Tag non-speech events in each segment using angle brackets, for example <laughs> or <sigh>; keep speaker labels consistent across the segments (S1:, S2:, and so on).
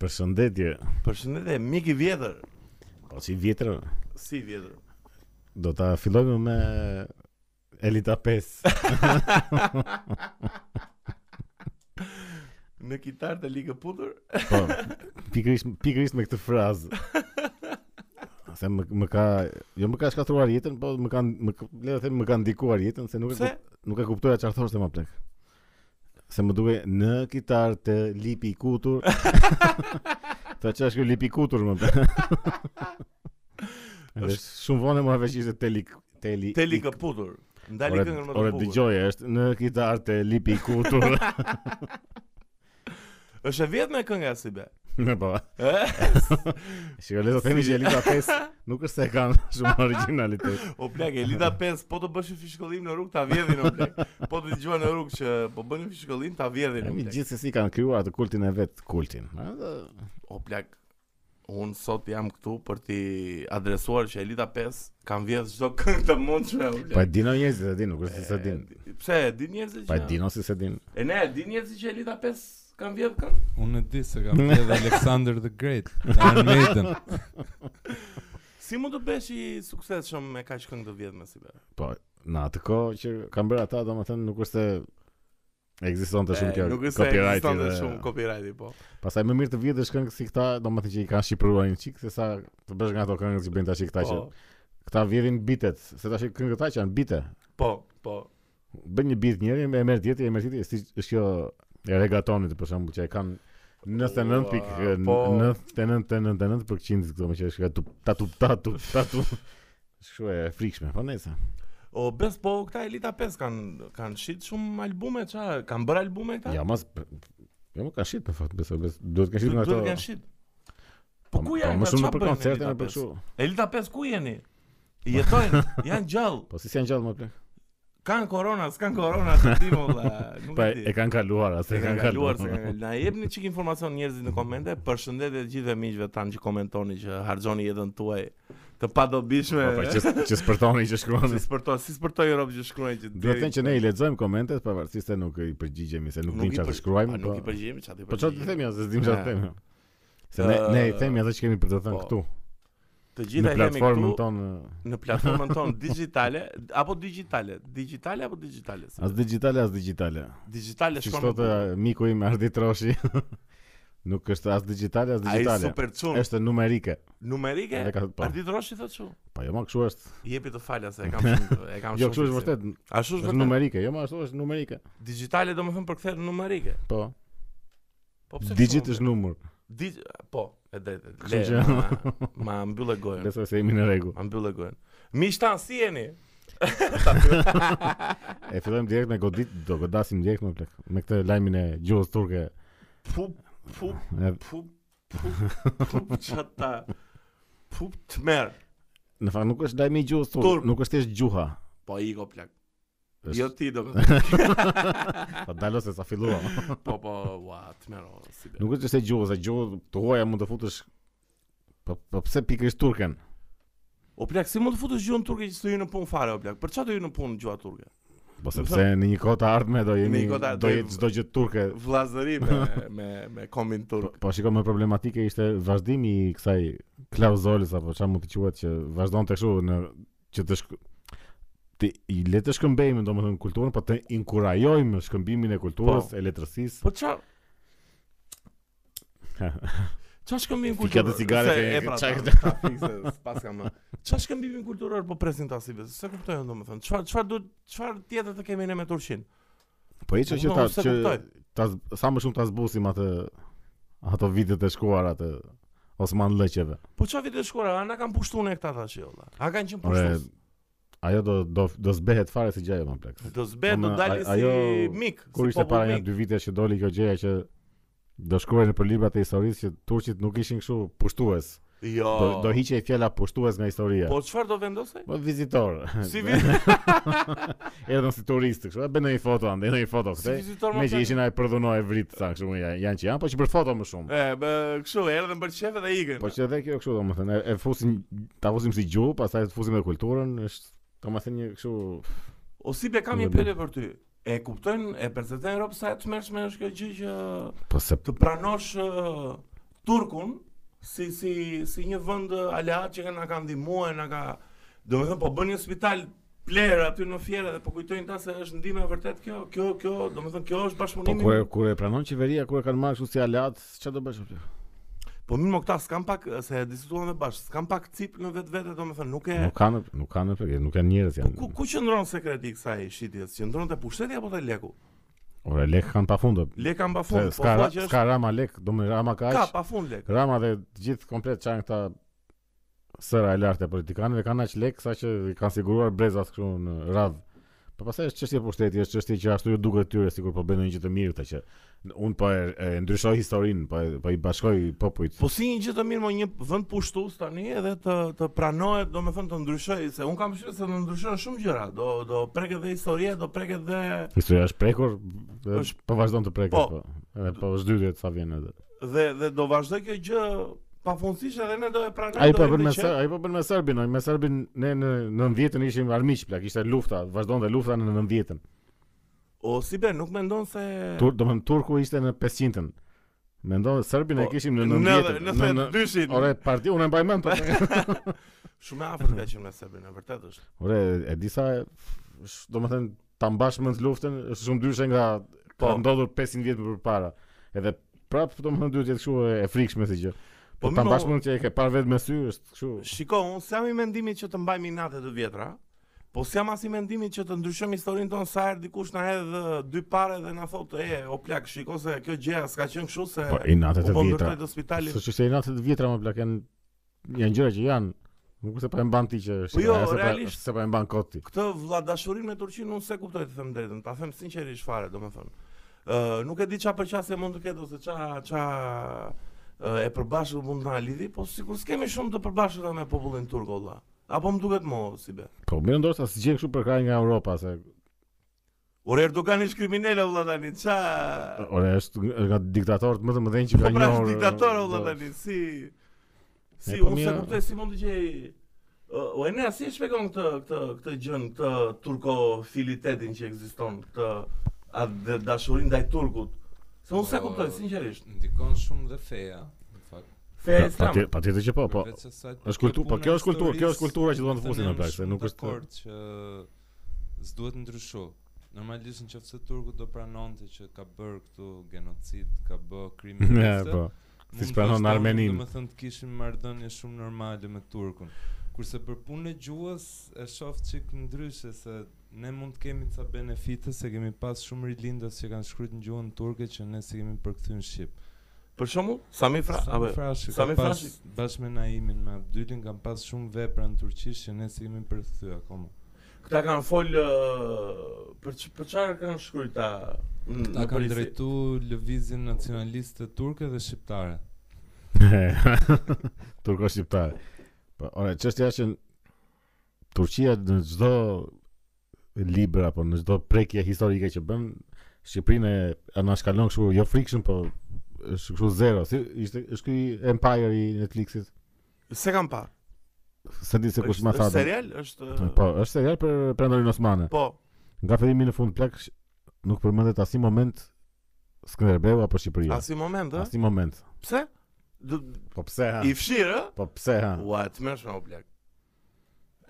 S1: Përshëndetje.
S2: Përshëndetje, mik i vjetër.
S1: Po si vjetër
S2: Si i vjetër?
S1: do ta fillojmë me Elita 5.
S2: Në kitar të ligë putur?
S1: <laughs> Po, pikërisht pikërisht me këtë frazë. Se më, më ka, jo më ka shkatruar jetën, po më kanë më k- le të them më ka ndikuar jetën se nuk e
S2: Pse?
S1: kup- nuk e kuptoja çfarë thoshte më plek. Se më duke në kitar të lipi i <laughs> kutur. Ta çash që lipi i kutur më plek. <laughs> Edhe shumë vonë më veç ishte teli teli
S2: Te ligë putur. Ndali këngën më të
S1: Ora
S2: bukur.
S1: dëgjoje, është në kitar të lipi i
S2: <laughs>
S1: kutur.
S2: Është e vjetër me kënga si be. <laughs> Eh?
S1: Më po.
S2: Ë?
S1: Shikoj le të themi që Elita 5 nuk është se e
S2: <laughs>
S1: kanë shumë originalitet.
S2: O plak, Elita 5, po të bësh një fishkollim në rrugë ta vjedhin o plak. Po të dëgjoj në rrugë që po bën një fishkollim ta vjedhin o
S1: Mi
S2: plak.
S1: gjithsesi kanë krijuar atë kultin e vet, kultin. Ha?
S2: O plak, unë sot jam këtu për t'i adresuar që Elita 5 kanë vjedh çdo këngë të mundshme o
S1: Pa
S2: plak.
S1: po e dinë njerëzit se din, nuk është se se din.
S2: E, Pse, e din njerëzit që?
S1: Pa e dinë ose se din.
S2: E ne, e din njerëzit që Elita 5 kanë vjedh këngë?
S3: Unë e di se kam edhe Alexander the Great, Iron Maiden.
S2: Si mund të bësh i suksesshëm me kaq këngë të vjetme si be?
S1: Po, <laughs> në atë kohë që kanë bërë ata, domethënë nuk është se ekzistonte shumë kjo
S2: Eh, nuk është se
S1: copyrighti.
S2: ekzistonte
S1: dhe-
S2: shumë copyrighti, po.
S1: Pastaj më mirë të vjetësh këngë si këta, domethënë që i kanë shqipëruar një çik se sa të bësh nga ato këngët që bëjnë tash këta që
S2: Po,
S1: këta vjedhin bitet, se tash këngët ata që janë bite.
S2: po, po.
S1: bën një bit njëri, e merr tjetri, e merr tjetri, si është kjo e regatonit për shembull që e kanë 99 pik
S2: Po.
S1: 99.99% këto më që është kjo tup ta tup ta tup ta tup. Është kështu e frikshme, po nëse.
S2: O bes po këta Elita 5 kanë kanë shit shumë albume, ça, kanë bërë albume këta?
S1: Ja mos Jo më ka shit në fakt, besoj, besoj, duhet të kanë shit
S2: Duhet
S1: nga ato.
S2: të kanë shit. Po ku
S1: po,
S2: janë?
S1: Më
S2: këta?
S1: shumë në
S2: Qa
S1: për
S2: bëjnë
S1: koncerte
S2: Elita
S1: në për
S2: 5?
S1: kështu.
S2: Elita 5 ku jeni?
S1: <laughs>
S2: Jetojnë, janë gjallë.
S1: Po si s'janë gjallë më plek.
S2: Kanë korona, s'kan korona, të di valla. Nuk
S1: Po
S2: e
S1: e-
S2: di.
S1: e kanë kaluar, as e
S2: Se
S1: kanë
S2: kanë kaluar, se kanë kaluar. Na jepni çik informacion njerëzit në komente. Përshëndetje të gjithëve miqve tanë që komentoni që harxhoni jetën tuaj të padobishme.
S1: Po që që spërtoni që shkruan.
S2: <laughs> Si spërtoj, si spërtoj rob që shkruajnë që
S1: Duhet të thënë që ne i lexojmë komentet, pavarësisht se nuk i përgjigjemi, se nuk
S2: Nuk
S1: dim
S2: i
S1: çfarë
S2: përg-
S1: shkruajmë.
S2: A, nuk
S1: po-
S2: i përgjigjemi çati.
S1: Po çfarë të themi, ja, se s'dim çfarë të
S2: Ja.
S1: themi. Se ne ne i
S2: Ë,
S1: themi ato që kemi për të thënë
S2: po,
S1: këtu
S2: Të
S1: në
S2: gjitha i kemi
S1: platformën
S2: këtu
S1: tonë.
S2: në
S1: <laughs>
S2: platformën tonë digjitale apo digjitale, digjitale apo digjitale. si
S1: As
S2: be?
S1: digjitale as digjitale.
S2: Digjitale
S1: Si
S2: shkon.
S1: thotë
S2: në-
S1: miku im Ardi Troshi. <laughs> Nuk është as digjitale as
S2: Ai
S1: digjitale.
S2: super çun
S1: Është numerike.
S2: numerike.
S1: Edhe ka- po.
S2: Ardi Droshi thotë kështu.
S1: Po jo, më kështu është.
S2: Jepi të falja se e
S1: <laughs>
S2: kam shumë e kam shumë.
S1: Jo, kështu është
S2: fiksim.
S1: vërtet.
S2: Ashtu është
S1: Është
S2: vërtet.
S1: numerike, jo, më ashtu është numerike.
S2: Digjitale domethënë përkthehet në numerike.
S1: Po.
S2: Po pse?
S1: Digjit
S2: kështu?
S1: është numër.
S2: Dig... Po, e drejtë.
S1: Kështu
S2: Le,
S1: që-
S2: ma, ma mbyllë e gojën.
S1: <laughs> Besoj se jemi në rregull.
S2: Ma mbyllë e gojën. Mi shtan si jeni?
S1: E fillojmë direkt me godit, do godasim direkt me plak. Me këtë lajmin e gjuhës turke.
S2: Pup, pup,
S1: E,
S2: pup, pup, pup, qëta. Pup të merë.
S1: Në fakt nuk është lajmi i gjuhës
S2: Turk.
S1: turke, nuk është thjesht gjuha.
S2: Po, i go plak.
S1: Është-
S2: Jo ti do
S1: <laughs> Po dalo se sa <laughs> filluam.
S2: Po, po, ua, të merë, o, si be.
S1: Nuk është se gjuhë, se gjuhë të huaja mund të futesh Po po pse pikërisht turken?
S2: O plak, si mund të futesh gjuhën turke që të hyjë në punë fare, o plak? Për çfarë do hyjë në punë gjuha
S1: <laughs>
S2: turke?
S1: Po sepse në një kohë të ardhme do jemi
S2: Në një kohë të ardhme-
S1: do jetë çdo gjë turke.
S2: Vllazëri me me me kombin
S1: Po,
S2: turk.
S1: po shikoj më problematike ishte vazhdimi i kësaj klauzolës apo çfarë mund të quhet që vazhdon të kështu në që të shk të i le të shkëmbejmë domethënë kulturën, po të inkurajojmë shkëmbimin e kulturës,
S2: Po.
S1: e letërsisë.
S2: Po çfarë? Qa shkëmbim
S1: Fika
S2: kulturor?
S1: të cigare
S2: Se
S1: ke-
S2: e pra
S1: qa-
S2: ta, ta fikse, s'pas kam më. Qa shkëmbimin kulturor po presin të asive? Se kuptojnë do më thënë, qfar, qfar, du, qfar tjetër të kemi ne me Turqin?
S1: Po hiçë që
S2: Po,
S1: ta
S2: unë s'e
S1: që
S2: kuptoj.
S1: ta z- sa më shumë ta zbusim atë ato vitet e shkuara të Osman Lëqeve.
S2: Po qa vite shkora, a na kanë pushtu ne këta tash jo, valla. A kanë qenë
S1: Ore,
S2: pushtus?
S1: ajo do do do zbehet fare si po gjë e më plak.
S2: Do zbe, do
S1: ama
S2: dali
S1: a- ajo-
S2: si mik,
S1: Kur
S2: si
S1: ishte para
S2: popull
S1: një
S2: mik.
S1: dy vite që doli kjo gjëja që do shkruaj në për librat e historisë që turqit nuk ishin kështu pushtues.
S2: Jo,
S1: Do do hiqej fjala pushtues nga historia.
S2: po qfar do
S1: <laughs>
S2: vendose?
S1: Po vizitor.
S2: Si, vi-
S1: Erdhën si turistë kështu. E bën një foto ande, një foto
S2: si
S1: këtej.
S2: vizitor më
S1: Me që
S2: plak.
S1: ishin ai prodhonoi vrit sa kështu janë, janë që janë, po që për foto më shumë.
S2: E, bë, kështu, erdhen për qefe dhe ikën.
S1: Po që edhe kjo kështu domethënë, e- e fusin ta fusim si gjuhë, pastaj të fusim me kulturën, është domethënë një kështu
S2: O si be kam një
S1: Nuk e
S2: pyetje për ty. E kuptojnë, e perceptojnë rob sa e të mërshme është kjo gjë që
S1: po se
S2: të pranosh ë, turkun si si si një vend eh, aleat që na ka ndihmuar, na ka domethënë po bën një spital player aty në Fierë dhe po kujtojnë ta se është ndihmë e vërtet kjo, kjo, kjo, domethënë kjo është
S1: Po
S2: bashkëpunimi.
S1: kur e- kur e pranon qeveria, kur e kanë marrë kështu si alat, çfarë do bësh? apo?
S2: Po mirë më këta s'kam pak se diskutuam dhe bash, s'kam pak cip në vetvete domethënë nuk e
S1: Nuk kanë, nuk kanë, nuk nuk kanë njerëz
S2: Po ku
S1: janë.
S2: ku qëndron sekreti i kësaj shitjes? Qëndron te pushteti apo te leku?
S1: Ora lek kanë pafund. o.
S2: Leka mbafund,
S1: Se
S2: po thua
S1: Ska
S2: që është
S1: ska rama lek, do më rama ka
S2: ka
S1: aq.
S2: pafund lek.
S1: Rama dhe të gjithë komplet çan këta sëra e lartë e politikanëve kanë aq lek sa që i kanë siguruar brezat këtu në radhë. Po pastaj është çështje pushteti, është çështje që ashtu ju duket tyre sikur po bëjnë një gjë të mirë këta që un po e, e ndryshoj historinë, po e- po i bashkoj popujt.
S2: Po si një gjë të mirë më një vend pushtues tani edhe të të pranohet, domethënë të ndryshoj, se un kam shpresë se do ndryshojnë shumë gjëra, do do preket dhe historia, do preket dhe
S1: Historia është prekur, dhe
S2: Është-
S1: po vazhdon të preket
S2: Po.
S1: po. Edhe po zhdyhet sa vjen edhe.
S2: dhe dhe do vazhdoj kjo gjë pafundësisht edhe ne do e pranojmë.
S1: Ai
S2: do
S1: po
S2: e
S1: bën me
S2: ndryqojmë.
S1: Ser- ai po bën me Serbin, oj, me Serbin ne në 90-ën ishim armiq plak, ishte lufta, vazhdonte lufta në 90-ën.
S2: O si be, nuk mendon se
S1: Tur, do të thënë Turku ishte në 500-ën. Mendon Serbin e
S2: Po,
S1: kishim në
S2: në
S1: 90-ën.
S2: në
S1: në- në-
S2: 92-shin.
S1: Ore, parti unë e mbaj
S2: <laughs>
S1: mend. po.
S2: Shumë e afërt ka qenë me Serbinë, vërtet është.
S1: Ore, e di sa sh- do të thënë ta mbash mend luftën është shumë dyshe nga
S2: Po.
S1: po ndodhur 500 vjet më parë. Edhe prap do të thënë duhet të jetë kështu e- e frikshme si gjë. Po
S2: mi
S1: ta
S2: mo-
S1: mbash mend që e ke parë vetë me sy është kështu.
S2: Shiko, unë s'jam i mendimit që të mbajmë inate të vjetra, po s'jam as i mendimit që të ndryshojmë historinë tonë sa herë dikush na hedh eh, dy pare dhe na thotë, "E, o plak, shiko se kjo gjëja s'ka qenë kështu se
S1: Po inatet
S2: u
S1: e
S2: po
S1: vjetra.
S2: ndërtoj të spitalin."
S1: Së që se janë të vjetra më plak janë janë gjëra që janë nuk është se pa e mban ti që
S2: Po jo,
S1: shqiptarja, se pa-
S2: realisht.
S1: se pa e mban kot ti.
S2: Këtë vlladashurinë me Turqinë unë se kuptoj të them drejtën, ta them sinqerisht fare, domethënë. Ë, nuk e di çfarë përqasje mund të ketë ose ç'a ç'a ë, e përbashkët mund të na lidhi, po sikur s'kemi shumë të përbashkëta me popullin turk olla. Apo më duket më si be.
S1: Po mirë ndoshta si gjën kështu për kraj nga Europa se
S2: Ore Erdogan është kriminal vëlla tani. Ça
S1: ore është nga diktatorët më të mëdhenj që
S2: Po
S1: kanë
S2: pra
S1: njohur.
S2: është diktator o vëlla
S1: po.
S2: tani, si si
S1: po
S2: unë se
S1: mirë.
S2: kuptoj si mund të gjej Ë, O e ne si e shpjegon këtë këtë këtë gjën, këtë turkofilitetin që ekziston, këtë atë dhe- dashurinë ndaj turkut. Se unë se
S3: Po,
S2: kuptoj sinqerisht.
S3: Ndikon shumë dhe feja, në fakt.
S2: Feja
S1: Pa-
S2: islam.
S1: paty- Patjetër që po, po.
S3: Përveç asaj,
S1: Është kultur- po,
S3: puna
S1: kjo është
S3: e
S1: kultur- kjo është
S3: historisë,
S1: kultura që duan të fusin në
S3: jam
S1: plak, se
S3: shumë
S1: nuk është-
S3: dakord që s'duhet ndryshu. Normalisht nëse turku do pranonte që ka bër këtu genocid, ka bë
S1: <laughs>
S3: krime
S1: Ja, po.
S3: mund
S1: si pranon
S3: vazhdon,
S1: Armenin.
S3: Domethënë të kishim marrëdhënie shumë normale me turkun. Kurse për punën e gjuhës e shoh çik ndryshe se ne mund të kemi ca benefite se kemi pas shumë rilindës që kanë shkruar në gjuhën turke që ne si kemi përkthyer në shqip.
S2: Për shembull, Sami Fra,
S3: Sami
S2: apo Sami
S3: Frashi, Sami Pra, pas,
S2: Frashi.
S3: bashkë me Naimin, me Abdylin, kam pas shumë vepra në turqisht që ne si kemi përkthy akoma.
S2: këta kanë fol ë, për ç- për çfarë kanë shkruar ta n-
S3: Ta
S2: në
S3: kanë
S2: polisi?
S3: drejtu lëvizjen nacionaliste turke dhe shqiptare.
S1: <laughs> Turko shqiptar. Po, ora çështja është që Turqia në çdo libër apo në çdo prekje historike që bën Shqipërinë e anashkalon kështu jo frikshëm, po është kështu zero. Si ishte është ky Empire i Netflixit.
S2: Se kam parë.
S1: Se di se kush
S2: Është-
S1: më tha.
S2: Është serial, është
S1: Po, është serial për Prandorin Osmane.
S2: po.
S1: Nga fillimi në fund plak sh- nuk përmendet asnjë moment Skënderbeu apo Shqipëria.
S2: Asi moment, ë?
S1: Asnjë moment.
S2: Pse? Do-
S1: Po pse ha?
S2: I fshirë, ë?
S1: Po pse ha?
S2: Ua, e të mërshme o plak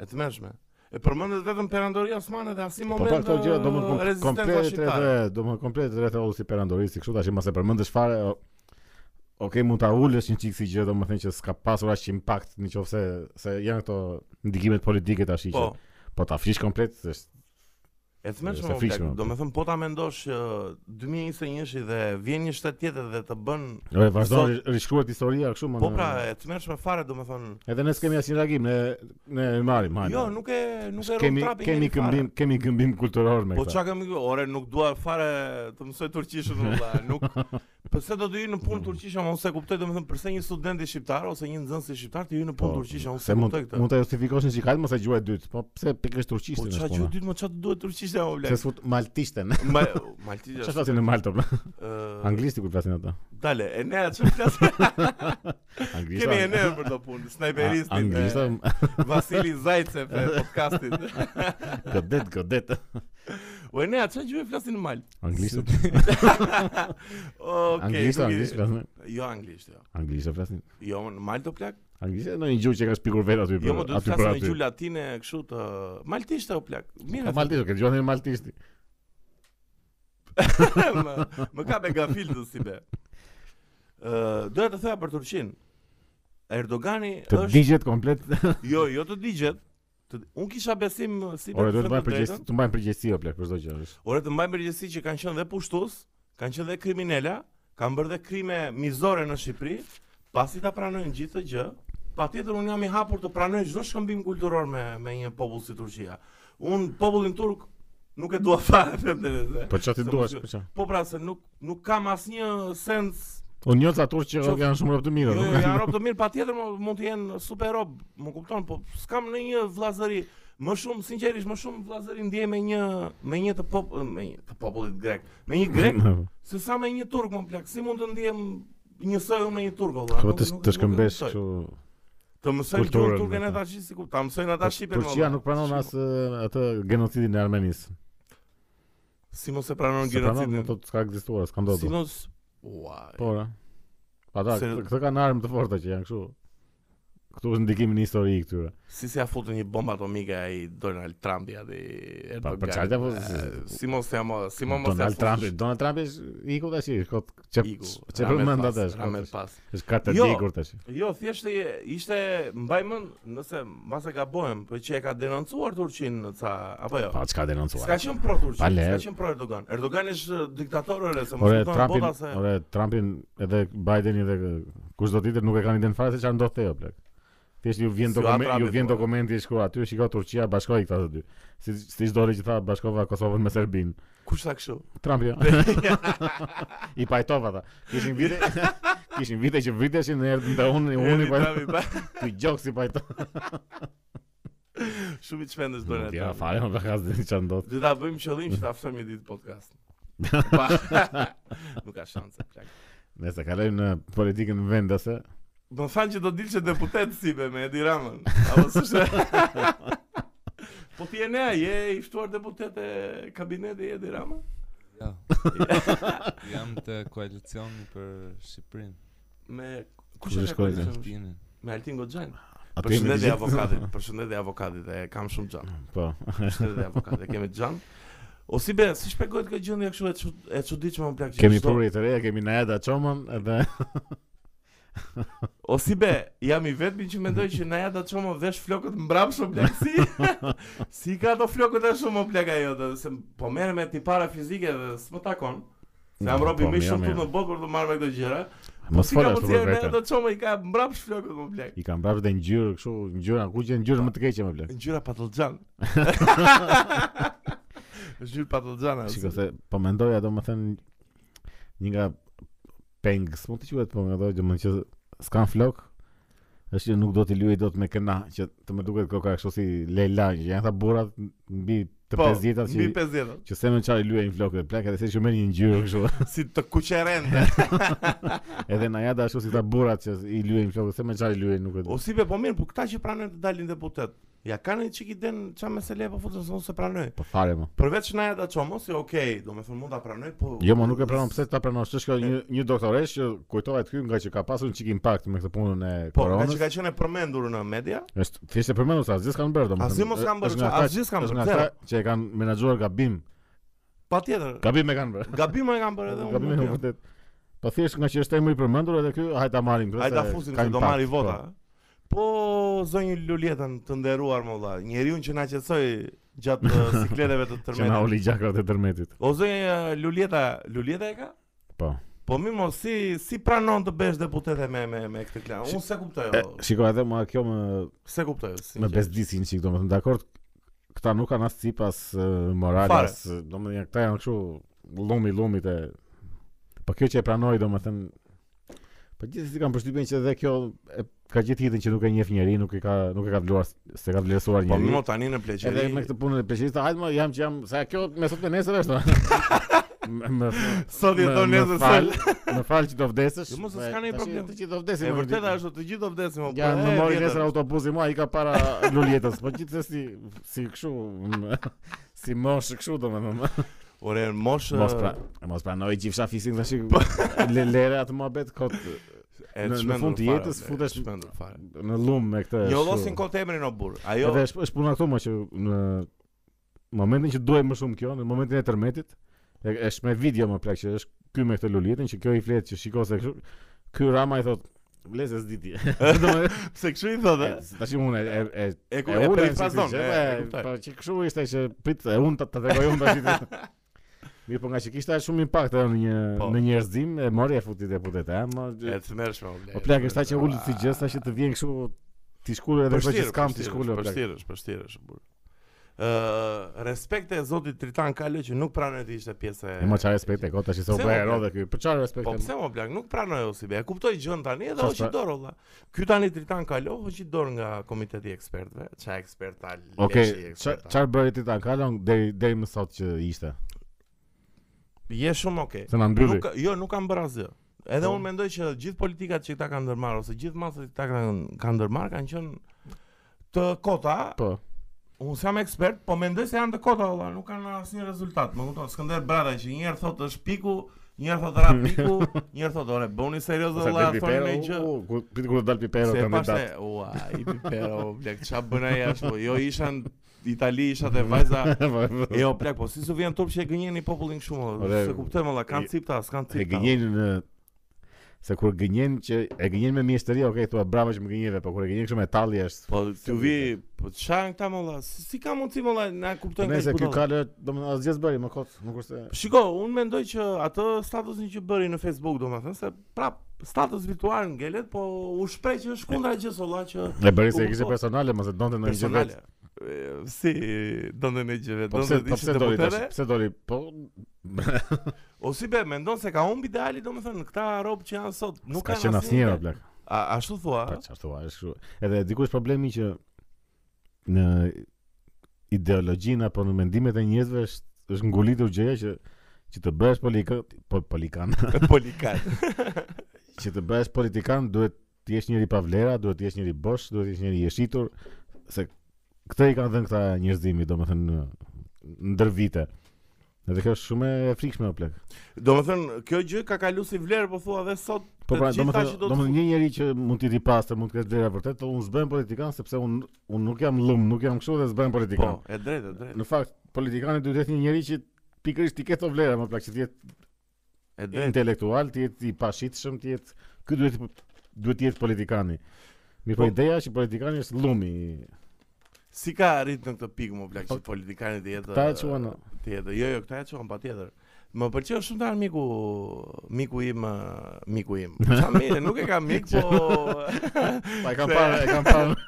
S2: E të mërshme E përmëndet vetëm perandoria osmane dhe asnjë
S1: Po
S2: moment
S1: pra
S2: uh,
S1: këto gjë do më kom-
S2: rezistenca
S1: komplet
S2: shqiptare.
S1: rreth do më komplet rreth e ulsi perandorisë kështu tash mos e përmendesh fare. o- Okej, mund ta ulësh një çik si gjë, domethënë që s'ka pasur as impakt nëse se janë këto ndikimet politike tash që.
S2: Po,
S1: Po, ta fish komplet është
S2: e të mërshme
S1: Është
S2: o
S1: frikshme,
S2: plak Do
S1: po.
S2: me thëmë po ta mendosh që 2021 dhe vjen një shtet tjetër dhe të bën
S1: ore vazhdon
S2: Sot-
S1: ri- rishkruhet historia kështu më.
S2: Po
S1: Po, në-
S2: pra, e të mërshme fare do me thënë
S1: edhe ne s'kemi asnjë reagim, ne ne e marrim hajde.
S2: Jo, nuk e nuk e
S1: kemi
S2: rrëm trapin
S1: kemi
S2: njëri fare.
S1: këmbim, kemi këmbim kulturor me
S2: Po
S1: këtë.
S2: çka kemi këtu? Ore, nuk dua fare të mësoj turqishën valla,
S1: <laughs>
S2: nuk. Pse do të hyj në punë turqishe, unë se kuptoj domethënë pse një student i shqiptar ose një nxënës i shqiptar të hyj në punë turqishe, unë
S1: Po, se
S2: se
S1: mund
S2: kuptoj këtë.
S1: mund ta justifikosh në shikajt mos e gjuaj dytë. Po pse pikërisht
S2: Po
S1: turqishtin?
S2: çfarë
S1: është
S2: gjë
S1: puna?
S2: ditë më çfarë duhet turqishte o
S1: Se
S2: blek.
S1: sfut maltishten.
S2: Ma Maltizia.
S1: Çfarë flasin në Maltë? bla?
S2: Ë
S1: Anglisht kur flasin ata.
S2: dale, e ne çfarë flas?
S1: <laughs> Anglisht.
S2: Kemi e ne për të punë, snajperistin.
S1: Anglisht.
S2: e
S1: <laughs>
S2: Vasili Zajcev e podcastit. <laughs>
S1: Godet, godet.
S2: O e nea, që gjuhë flasin në mal?
S1: <laughs>
S2: <laughs>
S1: Anglisht.
S2: Okej.
S1: Anglisht,
S2: nuk i-
S1: anglisht flasin.
S2: Jo anglisht, jo.
S1: Anglisht flasin.
S2: Jo, në mal të plak?
S1: Anglisht është ndonjë gjuhë që ka shpikur vetë aty
S2: Jo, më
S1: për
S2: duhet të
S1: aty për
S2: flasë në
S1: aty.
S2: gjuhë latine kështu të... Maltisht o plak. Mirë.
S1: Ka maltisht, ka dëgjuar në maltisht.
S2: <laughs> më, më ka me gafildu si be. Ë, doja të thoja për Turqinë. Erdogani
S1: Të
S2: është
S1: digjet komplet.
S2: jo, jo të digjet. Të, unë kisha besim ë,
S1: <laughs>
S2: si
S1: Ora duhet të
S2: thënë
S1: mbajmë përgjegjësi,
S2: drejtën.
S1: të mbajmë përgjegjësi o plak për çdo gjë. është.
S2: Ore të mbajmë përgjegjësi që kanë qenë dhe pushtues, kanë qenë dhe kriminela, kanë bërë dhe krime mizore në Shqipëri, pasi ta pranojnë gjithë të gjë, patjetër unë jam i hapur të pranoj çdo shkëmbim kulturor me me një popull si Turqia. Unë popullin turk nuk e dua <laughs> fare them të drejtën.
S1: Po çfarë ti
S2: Se
S1: duash
S2: mos-
S1: për çfarë?
S2: Po pra se nuk nuk kam asnjë sens.
S1: Unë njoh atur Po që
S2: Qof-
S1: janë shumë rob të
S2: Jo,
S1: mirë.
S2: jo,
S1: nuk
S2: janë rob të mirë, patjetër mo- mund të jenë super rob, më kupton, po s'kam ndonjë vllazëri. Më shumë sinqerisht, më shumë vllazëri ndjej me një me një të pop me një të popullit grek, me një grek
S1: <laughs>
S2: se sa me një turk më plak. Si mund të ndjem njësoj unë me një turk valla?
S1: Po
S2: nuk-
S1: të
S2: nuk-
S1: të
S2: nuk e
S1: shkëmbesh
S2: mësoj.
S1: kështu.
S2: Të mësoj
S1: kulturën,
S2: gjuhën turken
S1: me
S2: e
S1: ta. Po
S2: tash si ku ta mësojnë ata shqipen.
S1: Turqia
S2: valla.
S1: nuk pranon
S2: Si-
S1: as eh, atë genocidin e Armenisë.
S2: si mos e pranon
S1: Se pranon, do
S2: gjenocidin.
S1: të s'ka ekzistuar, s'ka
S2: Si
S1: ndodhur.
S2: mos Ua.
S1: Po, ora. Ata
S2: Se-
S1: këtë- këtë kanë armë të forta që janë kështu. Këtu është ndikimi në histori i këtyre.
S2: Si se ja futën një bombë atomike ai Donald Trumpi aty
S1: Pa,
S2: Erdogan.
S1: për çfarë ta fut-
S2: Eh, Si mos ja mo, si mos ja
S1: Donald
S2: futë
S1: Trump, Donald Trump është iku tash, kot çe
S2: iku,
S1: çe
S2: ramet
S1: përmend
S2: pas,
S1: atë është.
S2: ramet
S1: kot,
S2: pas.
S1: Është katë
S2: Jo.
S1: djegur tash.
S2: Jo, thjesht e- ishte mbaj mend, nëse mbas e gabohem, po që e ka denoncuar Turqinë ca apo jo.
S1: Pa çka
S2: Ska
S1: denoncuar.
S2: qenë pro Turqi,
S1: Pa le.
S2: ska qenë pro Erdogan. Erdogan është diktatorë se mos
S1: Ore
S2: e
S1: Trumpin,
S2: bota se
S1: ore Trumpin edhe Bideni edhe kush do tjetër nuk e kanë iden fare se çfarë ndodh te plak. Thjesht ju vjen
S2: Si u
S1: dokumenti,
S2: atrapet,
S1: ju vjen
S2: po, ore.
S1: dokumenti i shkuar aty, shikoj Turqia bashkoi këta të dy. Si si çdo herë që tha bashkova Kosovën me Serbinë.
S2: kush
S1: <laughs>
S2: tha kështu.
S1: Trump
S2: <laughs>
S1: jo. I pajtova ata. Kishin
S2: <laughs>
S1: vite, kishin vite që vriteshin në erdhën te unë, unë i po- pajtova.
S2: Erdi Trumpi, ba,
S1: Ti gjoks i pajtova.
S2: Shumë i çmendesh Donald
S1: Ja,
S2: Trump.
S1: fare, më ka zënë çan dot.
S2: Do ta bëjmë qëllim që ta ftojmë një ditë
S1: <laughs>
S2: podcast. Pa- <laughs> Nuk ka shanse, plak.
S1: Nëse kalojmë në politikën vendase,
S2: Do të thanë që do dilë që deputet si be me Edi Ramën Apo së shë
S1: <laughs>
S2: Po ti e nea, je i ftuar deputet e kabineti i Edi Ramën
S1: <laughs>
S3: Ja. Jam te koalicioni për Shqipërinë,
S2: Me
S1: Kush
S2: Kush
S1: është
S2: është koalicion?
S3: Shqipërinë.
S2: Me Altin Goxhan
S1: aty jemi të
S2: Përshëndetje
S1: gjithë-
S2: avokatit Përshëndetje avokatit e kam shumë gjan
S1: <laughs> Po.
S2: Përshëndetje avokatit e kemi gjan O si be, si shpegohet kjo gjendje kështu e çu- e çuditshme më plak që
S1: Kemi
S2: çdo-
S1: puri të reja, kemi Naeda Çomën edhe
S2: O si be, jam i vetmi që mendoj që na ja do të çomë vesh flokët mbrapsht o plak si.
S1: <laughs>
S2: si ka ato flokët e shumë o plak ajo, do se po merrem me tipara fizike dhe s'më takon. Se jam robi
S1: Po,
S2: më i
S1: mirë,
S2: shumë
S1: mirë.
S2: këtu në botë për të marrë me këto gjëra. Po
S1: mos
S2: Si ka
S1: fola ashtu për
S2: mundësi na ja
S1: vetë.
S2: do të çomë i ka mbrapsht flokët o plak.
S1: I kanë bërë dhe ngjyrë kështu, ngjyra ku që ngjyrë më të keqe më blek.
S2: Ngjyra
S1: <laughs>
S2: patallxhan. Ngjyrë patallxhana.
S1: Shiko se po mendoja domethënë një nga pengs, mund të quhet po nga ato domethënë që s'kan flok, është që nuk do t'i luaj dot me këna, që të më duket koka kështu si Leila, që janë ta burrat mbi të 50-tat
S2: Po, mbi
S1: që
S2: 50-tat.
S1: që se më çfarë luajnë flokët e plak, edhe se që merr një ngjyrë
S2: <laughs>
S1: kështu.
S2: Si të kuqerende.
S1: <laughs> Edhe na ja da ashtu si ta burrat që i luajnë flokët, se më çfarë luajnë nuk e di.
S2: O si be, po mirë, po këta që pranojnë të dalin deputet. Ja kanë një çik i den çfarë mesele po futën se unë se pranoj.
S1: Po fare më.
S2: Përveç na ja çomo, si okay, jo, do me thënë mund ta pranoj, po
S1: Jo, më nuk e pranon pse ta pranosh. Është një një doktoresh që kujtohet ky nga që ka pasur një çik impakt me këtë punën e
S2: Po, nga
S1: koronës.
S2: që ka qenë e përmendur në media,
S1: Është thjesht e përmendur se asgjë s'kan bërë domethënë.
S2: Asgjë mos kanë bërë,
S1: Është nga
S2: qa-
S1: ata-
S2: asgjë s'kan
S1: është
S2: bërë,
S1: nga ata që e kanë menaxhuar gabim.
S2: patjetër,
S1: Gabim e kanë bërë.
S2: gabim e kam bërë edhe
S1: Gabim e kanë
S2: unë. nuk jam.
S1: vërtet. Po thjesht nga që është emri i përmendur edhe ky, hajde ta marrim këtë.
S2: Ai ta
S1: se
S2: fusin
S1: ka
S2: se do
S1: impakt,
S2: marri
S1: po.
S2: vota. Po, zonjë Luljetën të nderuar më valla, njeriu që na qetësoi
S1: <laughs>
S2: gjatë eh, sikleteve të
S1: Që na
S2: tërmetit.
S1: oli gjakat e tërmetit.
S2: O zonjë eh, Luljeta, Luljeta e ka?
S1: Po.
S2: Po mi mos si si pranon të bësh deputete me me me këtë klan. Unë se kuptoj.
S1: E,
S2: o,
S1: Shiko edhe mua kjo më
S2: Se kuptoj.
S1: më
S2: sinqerisht.
S1: bezdisin çik domethënë, dakord. Këta nuk kanë as sipas
S2: Fare.
S1: moralas, domethënë këta janë kështu llumi lumit e Po kjo që e pranoi domethënë Po gjithsesi kam përshtypjen që edhe kjo e, ka gjithë hitin që nuk e njeh njeri, nuk e ka nuk e ka vlerësuar, se ka vlerësuar
S2: Po
S1: njeri.
S2: më tani në pleqeri.
S1: Edhe me këtë punën e pleqërista, hajde më jam që jam se kjo me sot me nesër është. më- më-
S2: <laughs>
S1: <laughs>
S2: sot jeton
S1: më- më
S2: Po, nesër
S1: fal,
S2: sel.
S1: Më fal që do vdesësh.
S2: Jo, mos
S1: po,
S2: s'ka
S1: e,
S2: ndonjë
S1: tash
S2: problem.
S1: Të që do vdesim.
S2: E
S1: më
S2: vërteta
S1: ditë.
S2: është të gjithë do vdesim po.
S1: Ja,
S2: e,
S1: më mori
S2: vjetër.
S1: nesër autobusi mua, i ka para
S2: <laughs>
S1: luljetës, po gjithsesi si kështu <laughs> m- si mosh kështu domethënë.
S2: Ore, mosh.
S1: Mos
S2: e,
S1: pra, mos pranoj gjithsha fisin tash.
S2: Po.
S1: Le lere atë muhabet kot
S2: e,
S1: në- në
S2: çmendur
S1: fund të
S2: fare,
S1: jetës
S2: e,
S1: futesh-
S2: çmendur fare.
S1: në lum me këtë.
S2: Jo
S1: kështu.
S2: llosin kot jo. emrin o burr. Ajo
S1: Edhe është është puna këtu më që në momentin që duaj më shumë kjo, në momentin e tërmetit, e- është me video më plak që është ky me këtë luljetin që kjo i flet që shiko se kështu. Ky Rama i thot Vlezë s'di
S2: <laughs>
S1: ti. <laughs> Domethënë,
S2: pse kështu i thotë? e?
S1: tash unë e e e
S2: E ku
S1: e
S2: e
S1: ula
S2: për i
S1: si
S2: frazon.
S1: kishte, po,
S2: e, e
S1: e,
S2: kuptoj.
S1: Po që kështu ishte që prit e unë ta ta tregoj unë tash.
S2: <laughs>
S1: Mirë, po nga që kishte shumë impakt edhe në një
S2: Po.
S1: në njerëzim, e mori e futi deputet, e, mo.
S2: E të mërshme, o blej.
S1: Po plak është ta që ulët si gjë, sa që të vjen kështu ti shkulë
S2: Po
S1: edhe kjo po që s'kam ti shkulë o plak.
S2: Përshtirësh, përshtirësh, po burr. Ë, respekte e Zotit Tritan Kalo që nuk pranoi të ishte pjesë e
S1: E mo çfarë respekt e kota që se u
S2: Pse
S1: bë
S2: mo,
S1: erode ky. Po çfarë respekt?
S2: Po pse mo blak, nuk pranoi Osibe. E kuptoj gjën tani edhe
S1: Çfarë
S2: hoqi
S1: s'pa-
S2: dorë olla. Ky tani Tritan Kalo hoqi dorë nga komiteti i ekspertëve. Ça eksperta, leshi
S1: Okej,
S2: eksperta.
S1: çfarë bëri ti ta kalon deri deri më sot që ishte?
S2: Je shumë okay.
S1: Se na mbylli.
S2: Nuk jo, nuk kam bërë asgjë. Edhe
S1: Po.
S2: unë mendoj që gjithë politikat që këta kanë ndërmarrë ose gjithë masat që këta kanë kanë ndërmarrë kanë qenë të kota.
S1: Po.
S2: Unë s'jam ekspert, po mendoj se janë të kota valla, nuk kanë asnjë rezultat. Më kupton, Skënder Brada që një herë thotë është piku, një herë thotë ra piku,
S1: <laughs>
S2: një herë thotë ore, bëuni serioz
S1: Ose
S2: valla,
S1: del
S2: thonë
S1: pipero,
S2: një gjë.
S1: u, u, ku- prit kur dal pipero
S2: Se
S1: kandidat.
S2: pashte, ua, i pipero, blek, qa bëna jashtë, po, jo isha në Itali, isha te vajza,
S1: <laughs>
S2: e jo, blek, po si su vjen turp që e gënjeni popullin shumë,
S1: Ore,
S2: se kuptoj valla, kanë cipta, s'kan
S1: E
S2: cipta.
S1: gënjen në se kur gënjen që e gënjen me mjeshtëri, okay, thua bravo që më gënjeve, po kur e gënjen kështu me talli është.
S2: Po ti vi, po qa janë këta molla? Si, si ka mundësi molla na kuptojnë
S1: Nëse
S2: këtë
S1: ky
S2: budalla?
S1: kalë, domethënë asgjë s'bëri më kot, nuk është. se-
S2: Shiko, unë mendoj që atë statusin që bëri në Facebook, domethënë se prap status virtual ngelet, po u shpreh që është kundra gjë solla që
S1: E bëri se
S2: u
S1: e kishte
S2: kupton.
S1: personale, mos e donte në një gjë vetë.
S2: Po, personale. E, Si donte në gjë vetë,
S1: Po pse
S2: donte
S1: po pse
S2: ishte
S1: doli tash?
S2: deputete,
S1: Pse doli? Po
S2: o si be, mendon se ka humb ideali domethënë këta rob që janë sot, nuk
S1: ka
S2: kanë
S1: qenë asnjëra
S2: ide.
S1: blak.
S2: A- Ashtu thua?
S1: Pa çfarë thua, është kështu. Edhe dikush problemi që në ideologjinë apo në mendimet e njerëzve është është ngulitur gjëja që që të bësh politik, po polikan,
S2: <laughs> Polikat.
S1: që të bësh politikan duhet të jesh njëri pa vlera, duhet të jesh njëri bosh, duhet të jesh njëri i jeshitur, se këtë i kanë dhënë këta njerëzimi, domethënë në- ndër vite. Edhe kjo është shumë e frikshme o plak.
S2: Domethënë kjo gjë ka kalu si vlerë, po thua edhe sot.
S1: Po
S2: të
S1: pra,
S2: gjitha
S1: domethënë,
S2: që do të
S1: domethënë një njerëz që mund të jetë i pastër, mund të ketë vlera vërtet, po unë s'bëhem politikan sepse unë unë nuk jam lum, nuk jam kështu dhe s'bëhem
S2: Po,
S1: politikan.
S2: e drejtë, e drejtë.
S1: Në fakt, politikani duhet të jetë një njerëz që pikërisht i ketë ato vlera, më plak që të jetë
S2: E drejtë.
S1: intelektual, të jetë i pashitshëm, të jetë ky duhet duhet të jetë politikani. Mirë, po
S2: Po-
S1: ideja është që politikani është llumi.
S2: Si ka arrit në këtë pikë më plak që
S1: Po,
S2: politikanit të jetë
S1: këta e quan, o.
S2: të jetë. Jo, jo, këta e quan patjetër. Më pëlqeu shumë tan miku, miku im, ë, miku
S1: <laughs>
S2: im. Sa mirë, nuk e kam mik, po <laughs>
S1: Pa e kam parë, e kam parë.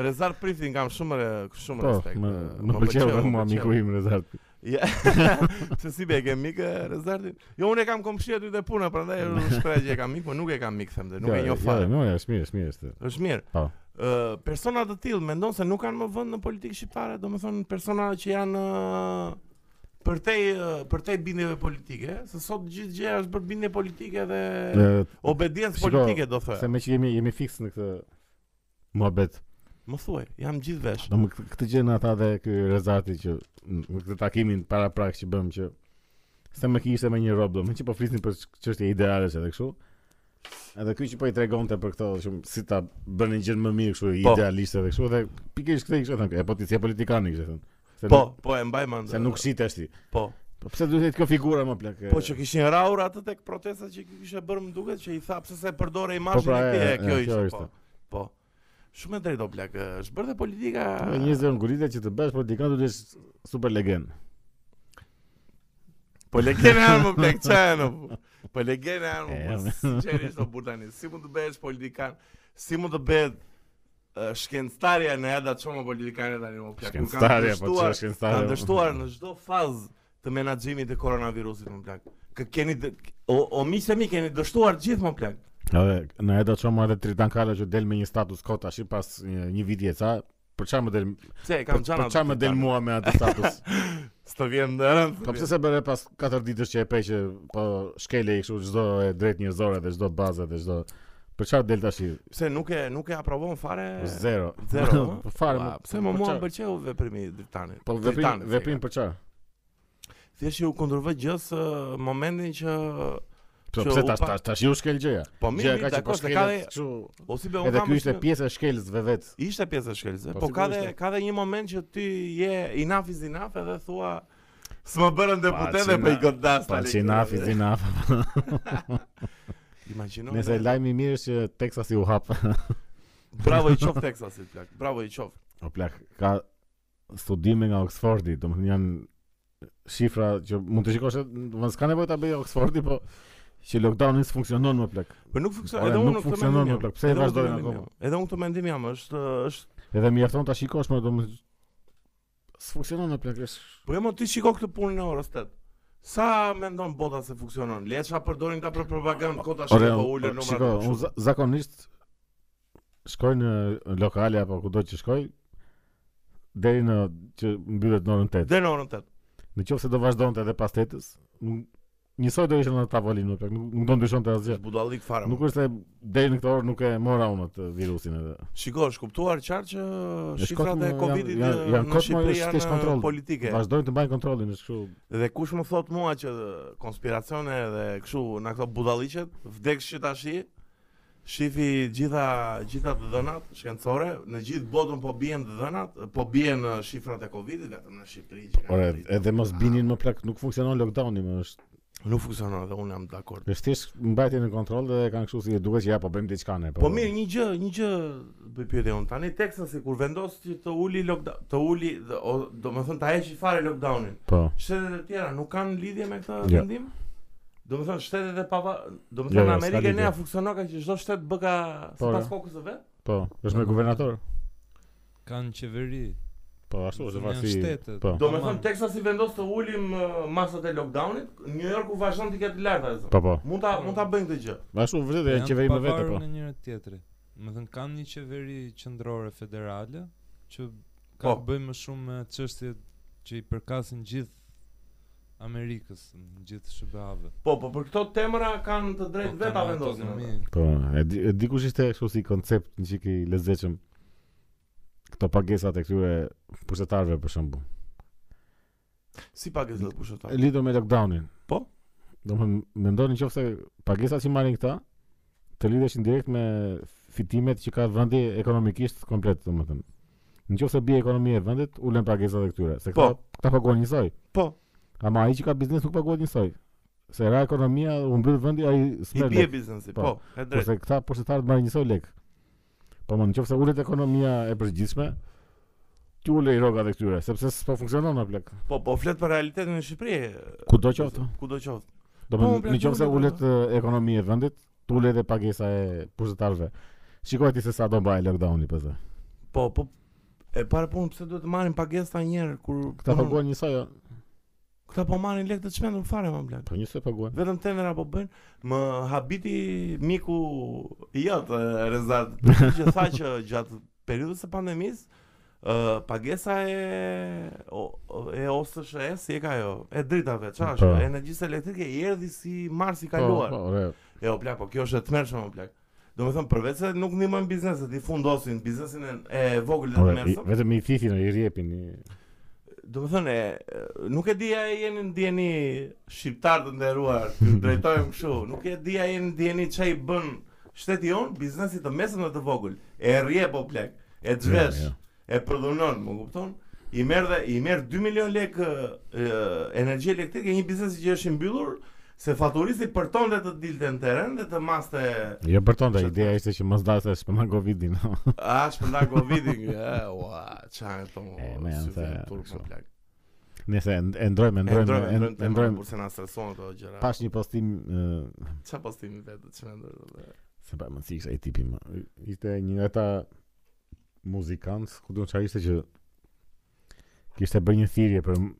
S2: Rezar Priftin kam shumë re- shumë
S1: Po,
S2: respekt.
S1: më
S2: ë,
S1: më pëlqeu dhe mua
S2: pëlqeu.
S1: miku im Rezart.
S2: Ja. <laughs> Se si be e ke mik ë, Rezartin? Jo, unë e kam komshi aty te puna,
S1: <laughs>
S2: prandaj unë shpreh që e kam mik, po nuk e kam mik them dhe, nuk e njoh fare.
S1: Jo, jo, është mirë, është mirë është.
S2: Është mirë.
S1: Po.
S2: Ë, persona të tillë mendon se nuk kanë më vend në politikë shqiptare, domethënë persona që janë ë, për te ë, për te bindjeve politike, se sot gjithë gjëja është bërë bindje politike dhe
S1: Ë,
S2: obediencë
S1: shiko,
S2: politike do
S1: Se
S2: thoya.
S1: me që jemi jemi fiks në këtë muhabet.
S2: Më thuaj, jam gjithë vesh.
S1: Do më këtë- këtë gjë na tha dhe ky Rezati që n- në këtë takimin para prak që bëm që se më kishte me një rob, do më që po flisnin për ç- çështje ideale që edhe kështu. Edhe ky që po i tregonte për këto shumë si ta bënin gjën më mirë kështu
S2: Po.
S1: idealiste edhe kështu dhe pikërisht këtë i kishte thënë, e po ti si e politikan i kishte thënë. Se
S2: Po,
S1: nuk-
S2: po e mbaj mend.
S1: se nuk shitesh ti.
S2: po.
S1: Po pse duhet të jetë kjo figura më plak? e-
S2: Po që kishin raur atë tek protestat që kishe bërë më duket që i tha pse se përdore
S1: Po,
S2: imazhin
S1: pra, e,
S2: e tij,
S1: e,
S2: kjo
S1: kjo
S2: ishte.
S1: ishte.
S2: Po. Po. Shumë e drejtë o plak, ë, është bërë dhe politika.
S1: Po, Njerëzve ngulitet që të bësh politikan duhet të jesh super legend.
S2: Po le kene armë, po
S1: <laughs>
S2: plek qenë, po. po le kene armë,
S1: E,
S2: po
S1: armë.
S2: sinqerisht o burr tani, si mund të bëhesh politikan, si mund të bëhet ë, shkencëtarja në edha çoma politikanë tani më plak. Kur kanë
S1: Shkencëtarja, po
S2: dështuar-
S1: çfarë shkencëtarja?
S2: Kanë dështuar në çdo fazë të menaxhimit të koronavirusit më plak. Kë keni dë- o o mi se mi keni dështuar gjithë më plak.
S1: Edhe në edhe çom edhe Tritan Kala që del me një status quo tash pas një, një viti e ca, për çfarë më del
S2: Pse e kam
S1: për
S2: çana.
S1: për çfarë më del mua me atë status?
S2: <laughs> S'të vjen në rënd.
S1: Po pse se bëre pas 4 ditësh që e pej që po shkele i kështu çdo e drejt njerëzore dhe çdo bazë dhe çdo për çfarë del tash? i?
S2: <laughs> Pse nuk e nuk e aprovon fare?
S1: Zero.
S2: Zero, ha?
S1: <laughs> po fare.
S2: Ua, Pse më
S1: për
S2: mua
S1: çfarë?
S2: më pëlqeu veprimi i dritanit.
S1: Po veprim veprim për çfarë?
S2: Thjesht ju kundërvoj gjës ë, momentin që
S1: Po
S2: Që
S1: pse
S2: u
S1: tash
S2: pa-
S1: tash tash ju shkel gjëja.
S2: po mi
S1: Gjëja
S2: mi,
S1: ka që po
S2: dakor se ka
S1: shkelet
S2: dhe
S1: kështu.
S2: ose be un
S1: Edhe
S2: kam.
S1: ky ishte
S2: përshtypjen-
S1: pjesë e shkelësve vet.
S2: Ishte pjesë e shkelëse,
S1: Po,
S2: po ka
S1: sigurisht,
S2: dhe
S1: e.
S2: ka dhe një moment që ti je enough is enough edhe thua s'më bërën deputet dhe
S1: qina-
S2: bëj godas
S1: Pa që nafi, si nafi.
S2: Imagjino.
S1: Nëse
S2: ne.
S1: lajmi i mirë është që Texasi u hap.
S2: Bravo i qof Texasit plak. Bravo i qof.
S1: O Po plak, ka studime nga Oxfordi, domethënë janë shifra që mund të shikosh, domethënë s'ka nevojë ta bëj Oxfordi, po që lockdowni s'funksionon më plak.
S2: Po nuk funksionon,
S1: Ore,
S2: edhe
S1: nuk
S2: unë këtë
S1: funksionon,
S2: mendim
S1: më
S2: jam.
S1: plak, pse e
S2: Edhe unë këtë
S1: vazhdojnë
S2: mendim
S1: akoma?
S2: jam. Edhe unë këtë mendim jam, është është
S1: Edhe mjafton ta shikosh po më domethënë s'funksionon më plak. është-
S2: po jo mo, ti shiko këtë punën e orës 8. Sa mendon bota se funksionon? Le ça përdorin ta për propagandë kota
S1: Ore,
S2: shkë po ulën numrat.
S1: shiko, unë za- zakonisht shkoj në lokale apo kudo që shkoj deri në që mbyllet në orën 8.
S2: Dhe në orën 8.
S1: Në qoftë se do vazhdonte edhe pas tetës, nuk- njësoj do ishte në tavolinë, më plak, nuk, nuk do ndryshonte asgjë.
S2: Është budallik fare. mo.
S1: Nuk është se deri në këtë orë nuk e mora unë atë virusin edhe.
S2: Shiko, është kuptuar qartë që
S1: E shkot
S2: shifrat
S1: më,
S2: e
S1: janë-
S2: Covidit
S1: janë-
S2: eh,
S1: janë
S2: në
S1: kot më
S2: Shqipëri
S1: është
S2: janë
S1: kesh kontroll.
S2: eh, politike.
S1: Vazhdojnë të mbajnë kontrollin, është kështu.
S2: Dhe kush më thot mua që eh, konspiracione dhe kështu na këto budalliqet, vdeksh që tashi, shifi gjitha gjitha të dhënat shkencore, në gjithë botën po bien të dhënat, po bien eh, shifrat e Covidit vetëm në Shqipëri. që kanë
S1: Ore,
S2: rritur.
S1: edhe mos binin më plak, nuk funksionon lockdowni, më është.
S2: Po nuk funksionon dhe unë jam dakord.
S1: Është thjesht mbajtjen në kontroll dhe e kanë kështu si e duket që ja po bëjmë diçka ne.
S2: Po mirë, një gjë, një gjë bëj pyetje unë tani Texasi kur vendos që të uli lockdown, të uli, domethënë ta heqi fare lockdownin.
S1: Po.
S2: Shtetet e tjera nuk kanë lidhje me këtë
S1: Jo.
S2: vendim? Do të thonë shtetet e pava, do
S1: Jo,
S2: të thonë
S1: jo,
S2: në
S1: s'ka
S2: Amerikë
S1: lidhje.
S2: ne funksionon ka që çdo shtet bë ka
S1: Po,
S2: sipas
S1: jo.
S2: kokës së vet.
S1: Po, është me guvernator.
S3: Kanë qeveri.
S1: Po, ashtu është
S3: Janë
S1: vasi.
S3: shtetet.
S1: Po.
S2: Do të
S3: Aman.
S2: thonë Texasi vendos të ulim uh, masat e lockdownit, New Yorku vazhdon të ketë lartë atë.
S1: Po, po.
S2: Mund ta mund ta bëjnë këtë gjë.
S1: Ashtu vërtet janë qeveri me vete, po.
S3: Në njëra tjetrin. Do të thënë kanë një qeveri qendrore federale që ka
S2: Po.
S3: të bëjë më shumë me çështjet që i përkasin gjithë Amerikës, në gjithë SBA-ve.
S2: Po, po për këto temra kanë të drejtë
S3: Po,
S2: vetë ta
S3: kanë
S2: vendosin.
S3: autonomi.
S2: ata.
S1: Po, e di, e di kush ishte kështu si koncept një çik i lezetshëm. Këto pagesat e këtyre pushtetarëve për shembull.
S2: Si pagesat pushëtar.
S1: E lidhur me lockdownin.
S2: Po.
S1: Domethënë mendoni nëse pagesat që marrin këta të lidheshin direkt me fitimet që ka vendi ekonomikisht komplet, domethënë. Nëse bie ekonomia e vendit, ulen pagesat e këtyre, se këta
S2: Po.
S1: këta paguajnë njësoj.
S2: Po,
S1: Ama ai që ka biznes nuk paguhet njësoj. Se ra ekonomia u mbyll vendi ai
S2: i
S1: smer.
S2: bie biznesi.
S1: Po.
S2: Po, e drejtë.
S1: Kurse këta pushtetarët marrin njësoj lek. Po më nëse ulet ekonomia e përgjithshme, ti ulej rrogat e këtyre, sepse s'po funksionon apo plak.
S2: Po, po flet për realitetin në Shqipëri.
S1: Kudo qoftë.
S2: Kudo qoftë.
S1: Do
S2: Po,
S1: më
S2: plak,
S1: në qofë se
S2: nuk e
S1: ullet e, ekonomia e vendit, të ullet e pagesa e pushtetarve. Shikoj ti se sa do mbaj lockdowni pas.
S2: Po, po e para punë pse duhet të marrin pagesa një herë kur
S1: Këta po
S2: punon-
S1: paguajnë njësoj, o.
S2: Këta po marrin lekë të çmendur fare më blaq.
S1: po njësoj paguajnë.
S2: Vetëm tendera po bëjnë, më habiti miku i jot e, Rezat që tha që gjatë periudhës së pandemisë ë pagesa e o- o- e OSHS si e ka ajo, e dritave, çfarë është,
S1: Po.
S2: energjisë elektrike i erdhi si Marsi i
S1: Po,
S2: kaluar.
S1: po, re.
S2: E o plak, po kjo është e tmerrshme më plak. Do me thëmë, përveç se nuk ndihmojnë bizneset, i fundosin, biznesin e, e vogël dhe të
S1: Ore, po, i-
S2: mërësëm.
S1: vetëm i thithin, i rjepin. i-
S2: Do të thënë, e, nuk e dija jeni ndjeni shqiptar të nderuar, ju drejtojmë kështu. Nuk e dija jeni ndjeni çai bën shteti jon, biznesi të mesëm dhe të vogël. E rrie po plek, e zhvesh,
S1: Jo, jo.
S2: e prodhonon, më kupton? I merr dhe i merr 2 milion lek e, energji elektrike një biznesi që është i mbyllur se faturisti përtonte të dilte në teren dhe të maste
S1: Jo bërton ta, ideja ishte që mos dalë se shpëman Covidin. <laughs>
S2: a shpënda Covidin. E, ua, çan tonë.
S1: E, me janë
S2: syve
S1: se-
S2: turp më
S1: kështu.
S2: plak.
S1: Nëse e- e ndrojmë, e
S2: E
S1: ndrojmë,
S2: ndrojmë,
S1: e-
S2: e ndrojmë,
S1: e ndrojmë.
S2: kurse na streson ato gjëra.
S1: Pash një postim e,
S2: Qa postimi vetë të çmendur dhe
S1: se pa mundsi ishte ai tipi më. Ishte një nga ata muzikant, ku do çfarë ishte që kishte bërë një thirrje për m-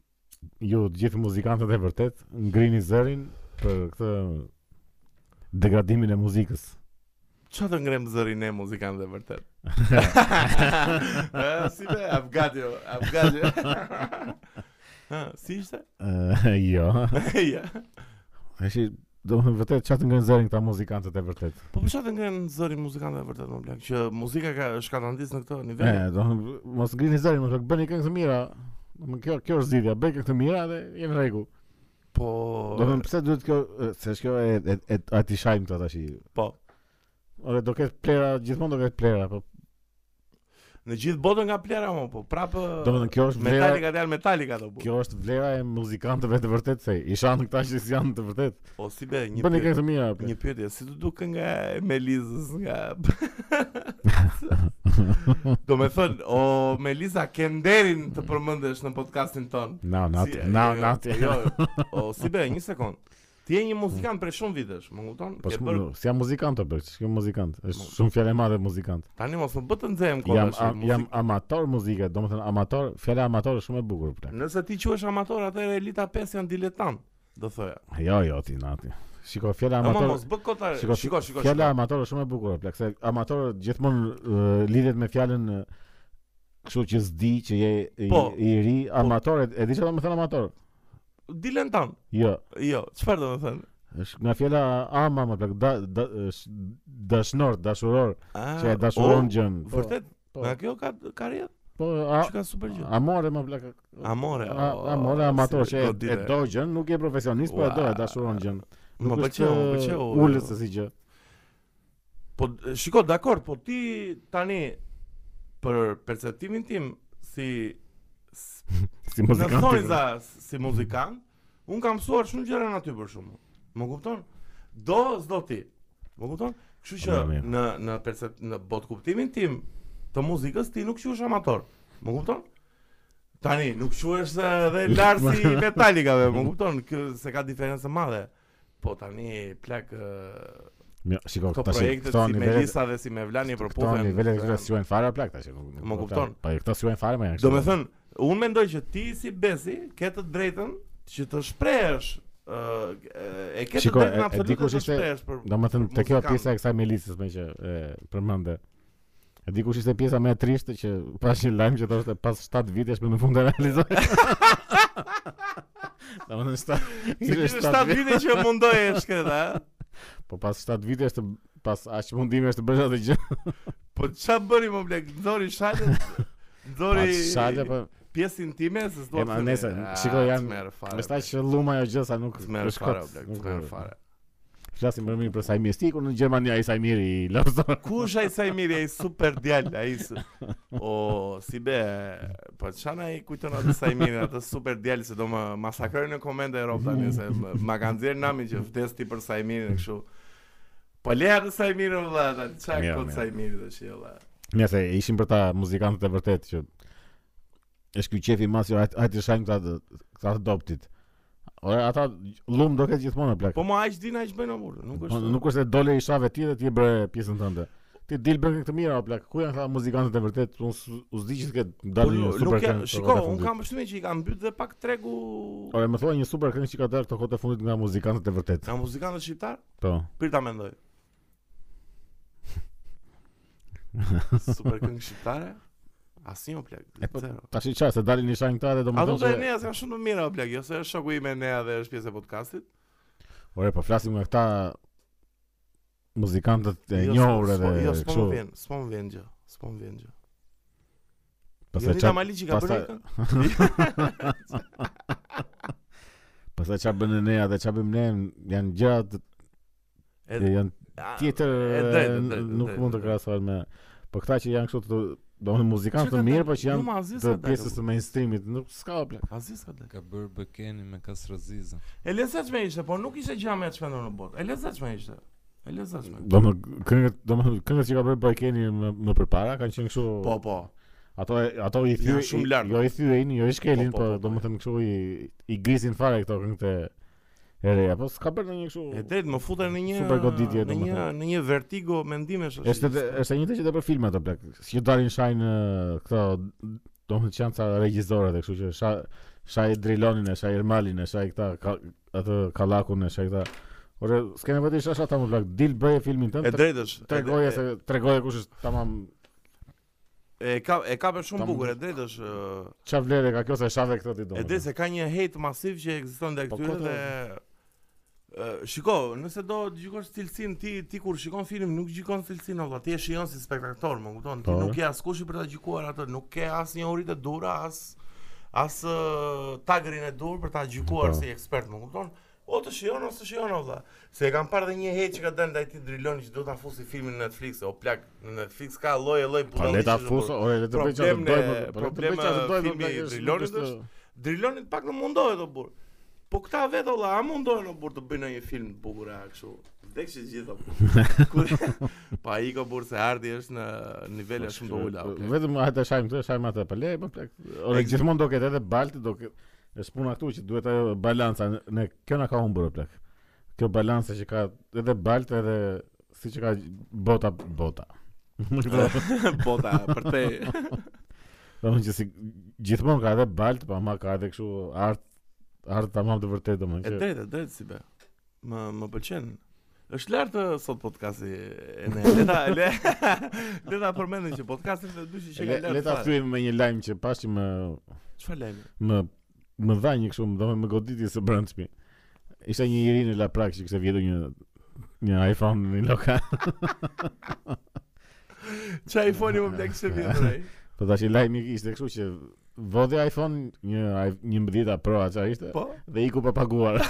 S1: ju të gjithë muzikantët e vërtet, ngrini zërin, për këtë degradimin e muzikës. <laughs>
S2: Qa të ngrem zërin e muzikan dhe vërtet <laughs> E, Si be, Afgatio Afgatio <laughs> Ha, Si ishte? <laughs>
S1: Ë, jo.
S2: ja.
S1: Tashi do më vërtet çfarë ngën zërin këta muzikantët e vërtet.
S2: Po për çfarë ngren zëri muzikan dhe vërtet më blaq Që muzika ka shkatandis në këto
S1: E,
S2: nivel
S1: do mos grini zërin, mos bëni këngë të mira. Do kjo kjo është zgjidhja, bëj këngë të mira dhe jemi në rregull.
S2: Po
S1: Do më pse duhet kjo e, se është kjo e e, e ati shajm këta tash.
S2: Po.
S1: Ore do ketë plera, gjithmonë do ketë plera, po
S2: Në gjithë botën nga plera mo Po prapë
S1: do më kjo është vlera.
S2: Metallica të janë Metallica do bu
S1: Kjo është vlera e muzikantëve të vërtet se i shanë këta që janë të vërtet.
S2: Po si be, një
S1: Bëni
S2: pyetje
S1: këngë të mira. ple.
S2: Një pyetje, si të duke nga e Melizës nga...
S1: <laughs>
S2: Do me thënë, o Meliza, kënderin të përmëndesh në podcastin tonë.
S1: Na, na,
S2: Si-
S1: na,
S2: jo,
S1: na.
S2: Jo, o, si be, një sekund. Ti je një muzikant për shumë vitesh, më kupton?
S1: Po
S2: Ke
S1: shumë,
S2: bërë-
S1: bërë... si jam muzikant të bërë, që s'kem muzikant, është shumë fjale madhe muzikant.
S2: Tani mos më bëtë nxehem kohë
S1: Jam,
S2: tash,
S1: a,
S2: muzik-
S1: jam amator muzike, do më thënë amator, fjale amator është shumë e bukur plak.
S2: Nëse ti quhesh amator, atëherë Elita 5 janë diletant, do thoja.
S1: Jo, jo, ti nati. Shiko, fjale
S2: Amator,
S1: amator,
S2: mos bë kota. Shiko,
S1: shiko,
S2: shiko, shiko.
S1: fjale amator është shumë e bukur plak, se amator gjithmonë uh, lidhet me fjallën uh, kështu që zdi, që je i,
S2: Po.
S1: i ri, amator, e, e di që do më thënë amator?
S2: Diletant.
S1: Jo,
S2: Jo, çfarë do të thënë?
S1: është nga fjala ama më plak, da, da, është dashnor, dashuror,
S2: Ah,
S1: që e dashuron
S2: o,
S1: gjën.
S2: Vërtet,
S1: Po,
S2: nga kjo ka karrierë,
S1: po, a,
S2: çka super gjë.
S1: amore më plak,
S2: Amore. Po, o,
S1: A, a mora amator
S2: si
S1: që e-
S2: godite.
S1: e do gjën, nuk je profesionist, po e do e
S2: Ua.
S1: dashuron gjën.
S2: Më
S1: Nuk është,
S2: pëlqeu, më pëlqeu.
S1: e, Ulës se si gjë.
S2: Po d- shiko, dakor, po ti tani për perceptimin tim si s-
S1: Si
S2: në
S1: muzikant.
S2: thonjza si muzikant, un kam mësuar shumë gjëra nga ty për shkakun. Më kupton? Do s'do ti. Më kupton? Kështu që
S1: Po, mirë.
S2: në në percep në bot kuptimin tim të muzikës ti nuk quhesh amator. Më kupton? Tani nuk
S1: <laughs>
S2: quhesh edhe lart si Metallicave, më kupton? Kjo se ka diferencë madhe. Po tani plak ë,
S1: Mirë, shiko,
S2: Këto
S1: Po, tash
S2: projektet
S1: këto
S2: si
S1: nivelet,
S2: Melisa dhe si Mevlani
S1: këto
S2: përputhen.
S1: nivelet këto
S2: janë-
S1: sjuajn fare plak tash. nuk- nuk-
S2: Më
S1: nuk-
S2: kupton.
S1: Po këto sjuajn fare më janë.
S2: Do
S1: kështu.
S2: me thënë, unë mendoj që ti si Besi ke të drejtën që të shprehesh ë, e e ke të
S1: Shiko,
S2: drejtën
S1: e- e di
S2: absolute
S1: kush
S2: të
S1: ishte-
S2: shprehesh për <laughs>
S1: Do me thënë te kjo
S2: muzikant.
S1: pjesa e kësaj Melisës më që e, përmende. E di kush ishte pjesa më e trishte që pas një lajm që thoshte pas 7 vitesh më në fund e realizoj.
S2: <laughs>
S1: Domethënë <laughs> 7
S2: Se kishte 7 vite që
S1: <laughs>
S2: mundoje e shkreta, a?
S1: Po pas 7 vitesh të pas aq mundimesh të bësh atë gjë.
S2: Po ç'a bëri më blek? Nxori shalën.
S1: Pas
S2: Nxori
S1: shale po
S2: pjesën time se s'do "Ah,
S1: E, ma, nese, shiko, janë- Është aq luma ajo gjë sa nuk
S2: Merë
S1: shkot,
S2: fare, o blek,
S1: nuk-
S2: merë fare.
S1: Flasim për mirë për Sajmir Stiku në Gjermani ai Sajmiri i Lavzon.
S2: Kush ai sa i mirë, ai super djalë, ai s- o si be, po çana ai kujton atë sa i mirë, atë super djalë se do më masakrojnë në komente e rob tani se më- ma kanë nxjerr namin që vdes ti për sa i mirë kështu. Po le atë sa i mirë vëlla,
S1: Mirë,
S2: tani çka kot
S1: mirë.
S2: sa i mirë tash vëlla.
S1: Nëse ishin për ta muzikantët e vërtet që është ky qefi i madh që hajt hajt të shajmë këta të- këta të doptit. Ora ata lum do ketë gjithmonë plak.
S2: Po më aq din aq bëjnë burr, nuk
S1: Po,
S2: është.
S1: nuk është se dole i shave ti dhe ti e bëre pjesën tënde. Ti dil bën këtë mira o plak. Ku janë këta muzikantët e vërtet? Unë s- u zdi që të ketë
S2: Po,
S1: dalë një super
S2: nuk ja,
S1: këngë. po,
S2: shiko, un kam përshtymin që i kanë mbyt dhe pak tregu
S1: Ora më thuaj një super këngë që ka dalë këto kohë të fundit nga muzikantët e vërtet.
S2: nga muzikantët shqiptar,
S1: Po.
S2: prit
S1: <laughs>
S2: ta mendoj. Super këngë shqiptare? Asnjë o plak.
S1: E, po,
S2: zero.
S1: Tash i çfarë se dalin një shajnë këta dhe
S2: A do
S1: domethënë
S2: të
S1: se
S2: Enea janë shumë të mira o plak, jo se është shoku im Enea dhe është pjesë e podcastit.
S1: Ore, po flasim nga këta muzikantët e
S2: Jo,
S1: njohur
S2: s'po-
S1: edhe
S2: s'po- Jo, s'po
S1: kështu.
S2: më vjen, s'po më vjen gjë, s'po më vjen gjë. Jo,
S1: Pastaj
S2: Jonita
S1: çfarë
S2: Maliqi ka bërë
S1: pastaj-
S2: këngë?
S1: pastaj çfarë bën Enea dhe çfarë bëjmë ne janë gjëra të
S2: Edhe
S1: janë tjetër
S2: e drejtë, e
S1: e,
S2: drejtë, e
S1: nuk
S2: drejtë,
S1: mund të
S2: e drejtë.
S1: krahasohet me po këta që janë kështu të domethënë muzikantë të mirë, po që janë të pjesës të mainstreamit, nuk s'ka o plak.
S2: Aziz ka dalë.
S3: Ka bërë bëkeni me kasrazizën.
S2: E lezetshme ishte, po nuk ishte gjë më e çmendur në botë. E lezetshme ishte. E lezetshme.
S1: Domethënë këngët, domethënë këngët që ka bërë Bajkeni më, më përpara kanë qenë kështu
S2: Po, po.
S1: ato e- ato i
S2: Janë
S1: thyen
S2: shumë lartë.
S1: Jo i thyen, jo i shkelin,
S2: Po,
S1: po
S2: po, po, po.
S1: domethënë kështu i i grisin fare këto këngët e e reja, po s'ka bërë ndonjë kështu.
S2: E drejtë, më futen në një
S1: Super goditje,
S2: në një
S1: domethënë.
S2: në një vertigo mendimesh
S1: Është edhe është e njëjta që të për filma ato plak. Si që dalin shajnë ë, këto domethënë që janë ca regjizore dhe kështu që shaj shaj Drilonin, e shaj Ermalin, e shaj këta ka, atë kallakun e shekta. Ore, s'ke nevojë të ishash ata më plak. Dil bëje filmin tënd.
S2: E drejtë është.
S1: Tregoje
S2: e-
S1: se tregoje kush është tamam
S2: E e ka e ka për shumë
S1: Tam-
S2: bukur, e drejtë është. ë,
S1: ç'a vlere ka kjo se shave këtë ti do.
S2: E drejtë se ka një hate masiv që ekziston ndaj
S1: Po,
S2: këtyre
S1: kota-
S2: dhe ë, shiko, nëse do të gjikosh cilësinë ti ti kur shikon film nuk gjikon cilësinë valla, ti e shijon si spektator, më kupton? Ti
S1: Po.
S2: nuk je askush i për ta gjikuar atë, nuk ke as një orit e dura, as as ë, tagrin e dur për ta gjikuar
S1: Po.
S2: si ekspert, më kupton? O të shijon ose shijon valla. Se e kam parë dhe një hate që ka dalë ndaj ti Driloni që do ta fusi filmin në Netflix, o plak, në Netflix ka lloje lloj
S1: Po le ta fus, ore le të bëj çfarë dojmë. po
S2: Probleme-
S1: le të bëj
S2: probleme
S1: çfarë dojmë.
S2: filmi i Drilonit është- Drilonit pak në mundohet o burr. Po këta vetë olla, a mundohen o burr të bëjnë një film të bukur a kështu. Vdekshë gjithë o burr.
S1: <laughs>
S2: Kur pa i ka burr se Ardi është në
S1: Po,
S2: nivele shumë të ulta. o plak.
S1: Vetëm hajde shajm këtë, shajm atë, po le, po plak. Ore
S2: Ekzi-
S1: gjithmonë do ketë edhe balti, do ketë është puna këtu që duhet ajo balanca, ne- ne kjo na ka humbur o plak. Kjo balanca që ka edhe balti edhe siç ka bota bota.
S2: <laughs> Bota Po për
S1: <laughs>
S2: te.
S1: Domethënë që si gjithmonë ka edhe balt, po ama ka edhe kështu art art tamam të vërtetë
S2: E
S1: domethënë. që-
S2: drejtë, e drejtë si be. Më më pëlqen. Është lartë sot podcasti e ne. Leta le <laughs> leta përmendin që podcastin e dyshi që ka
S1: Le-
S2: lartë.
S1: Le ta
S2: fare.
S1: thyejmë me një lajm që pashë më
S2: Çfarë lajmi?
S1: më më dha një kështu, më dha më goditje së brendshme. Ishte një njeri në Laprak që kishte vjedhur një një iPhone në një lokal.
S2: Çfarë iPhone-i më blek
S1: <laughs>
S2: se vjen ai.
S1: Po tash i lajmi ishte kështu që vodhi iPhone një i- 11 Pro atë ishte
S2: Po.
S1: dhe iku pa paguar.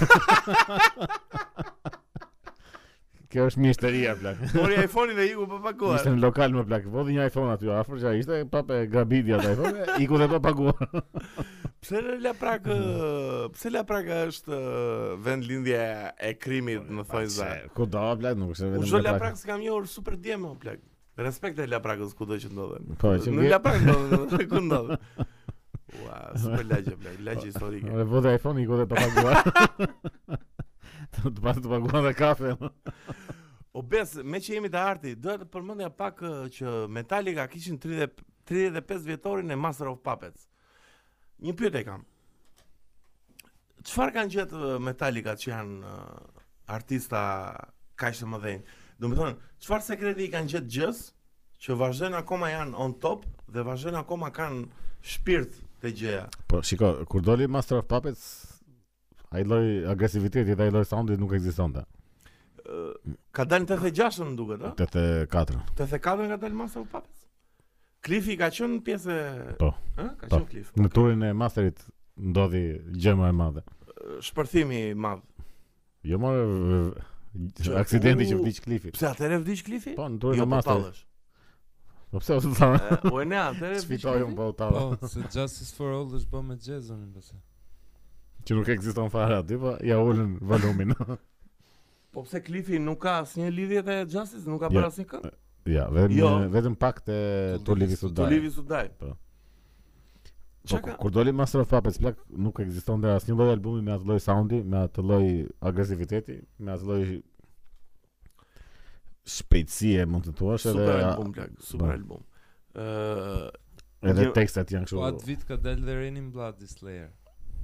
S1: Kjo është mjeshteria plak.
S2: Mori iPhone-in dhe iku pa pakuar.
S1: Ishte në lokal më plak. Vodhi një iPhone aty afër, që ai ishte pa e grabiti atë iPhone, iku dhe pa paguar.
S2: Pse la prak, pse la prak është ë, vend lindje e krimit në thonjza.
S1: Ku do plak, nuk është
S2: U
S1: vetëm.
S2: zho la
S1: Laprak.
S2: prak s'kam njohur super djem o plak. Respekt e la prakës kudo që ndodhen.
S1: Po, që
S2: në
S1: vje-
S2: la prak ndodhen, <laughs> ku ndodhen. Ua, super lagje plak,
S1: <laughs>
S2: lagje historike.
S1: Ore vode iPhone i kodhe të paguar Të të pasë të paguar dhe kafe më.
S2: O bes, me që jemi të arti, do të përmendja pak ë, që Metallica kishin 30 35 vjetorin e Master of Puppets. Një pyetje kam. Çfarë kanë gjetë ë, Metallica që janë ë, artista kaq të mëdhenj? Do të thonë, çfarë sekreti i kanë gjetë gjës që vazhdojnë akoma janë on top dhe vazhdojnë akoma kanë shpirt të gjëja.
S1: Po shiko, kur doli Master of Puppets Ai lloj agresiviteti dhe ai lloj soundit nuk ekzistonte.
S2: Ë, Ka dalë në 86 më duket, ëh?
S1: 84.
S2: 84 ka dalë Master of Puppets. Klifi ka qenë pjesë e-
S1: Po.
S2: Ë, ka
S1: Po.
S2: qenë Cliff.
S1: Në turin e Masterit ndodhi gjë më e madhe.
S2: shpërthimi i madh.
S1: Jo more v- v-
S2: Që-
S1: aksidenti që
S2: u-
S1: vdiq Klifi.
S2: Pse atëre vdiq Klifi?
S1: Po, në
S2: jo
S1: turin e
S2: po
S1: Masterit.
S2: tallesh.
S1: Po pse u tha?
S2: <laughs> E, O e ne
S1: <laughs>
S2: atëre vdiq
S1: Sfitoi un
S2: Klifi?
S1: po u tha.
S3: Po, se Justice for All është bë me Jason pse.
S1: Që nuk ekziston fare aty, po ja ulën volumin. <laughs>
S2: Po pse Klifi nuk ka asnjë lidhje te Justice, nuk ka
S1: Jo.
S2: bërë asnjë këngë?
S1: ja, vetëm
S2: Jo.
S1: vetëm pak te Tulivi Sudaj.
S2: Tulivi Sudaj.
S1: Po,
S2: Çka ka?
S1: kur doli Master of Puppets plak nuk ekzistonte asnjë lloj albumi me atë lloj soundi, me atë lloj agresiviteti, me atë lloj shpejtësie mund të thuash edhe
S2: Super album plak, super
S1: ba.
S2: album. Ë,
S1: edhe
S2: Një-
S1: tekstet janë
S3: Po atë
S1: kështu.
S3: vit ka dalë dhe Rain in Blood i Slayer.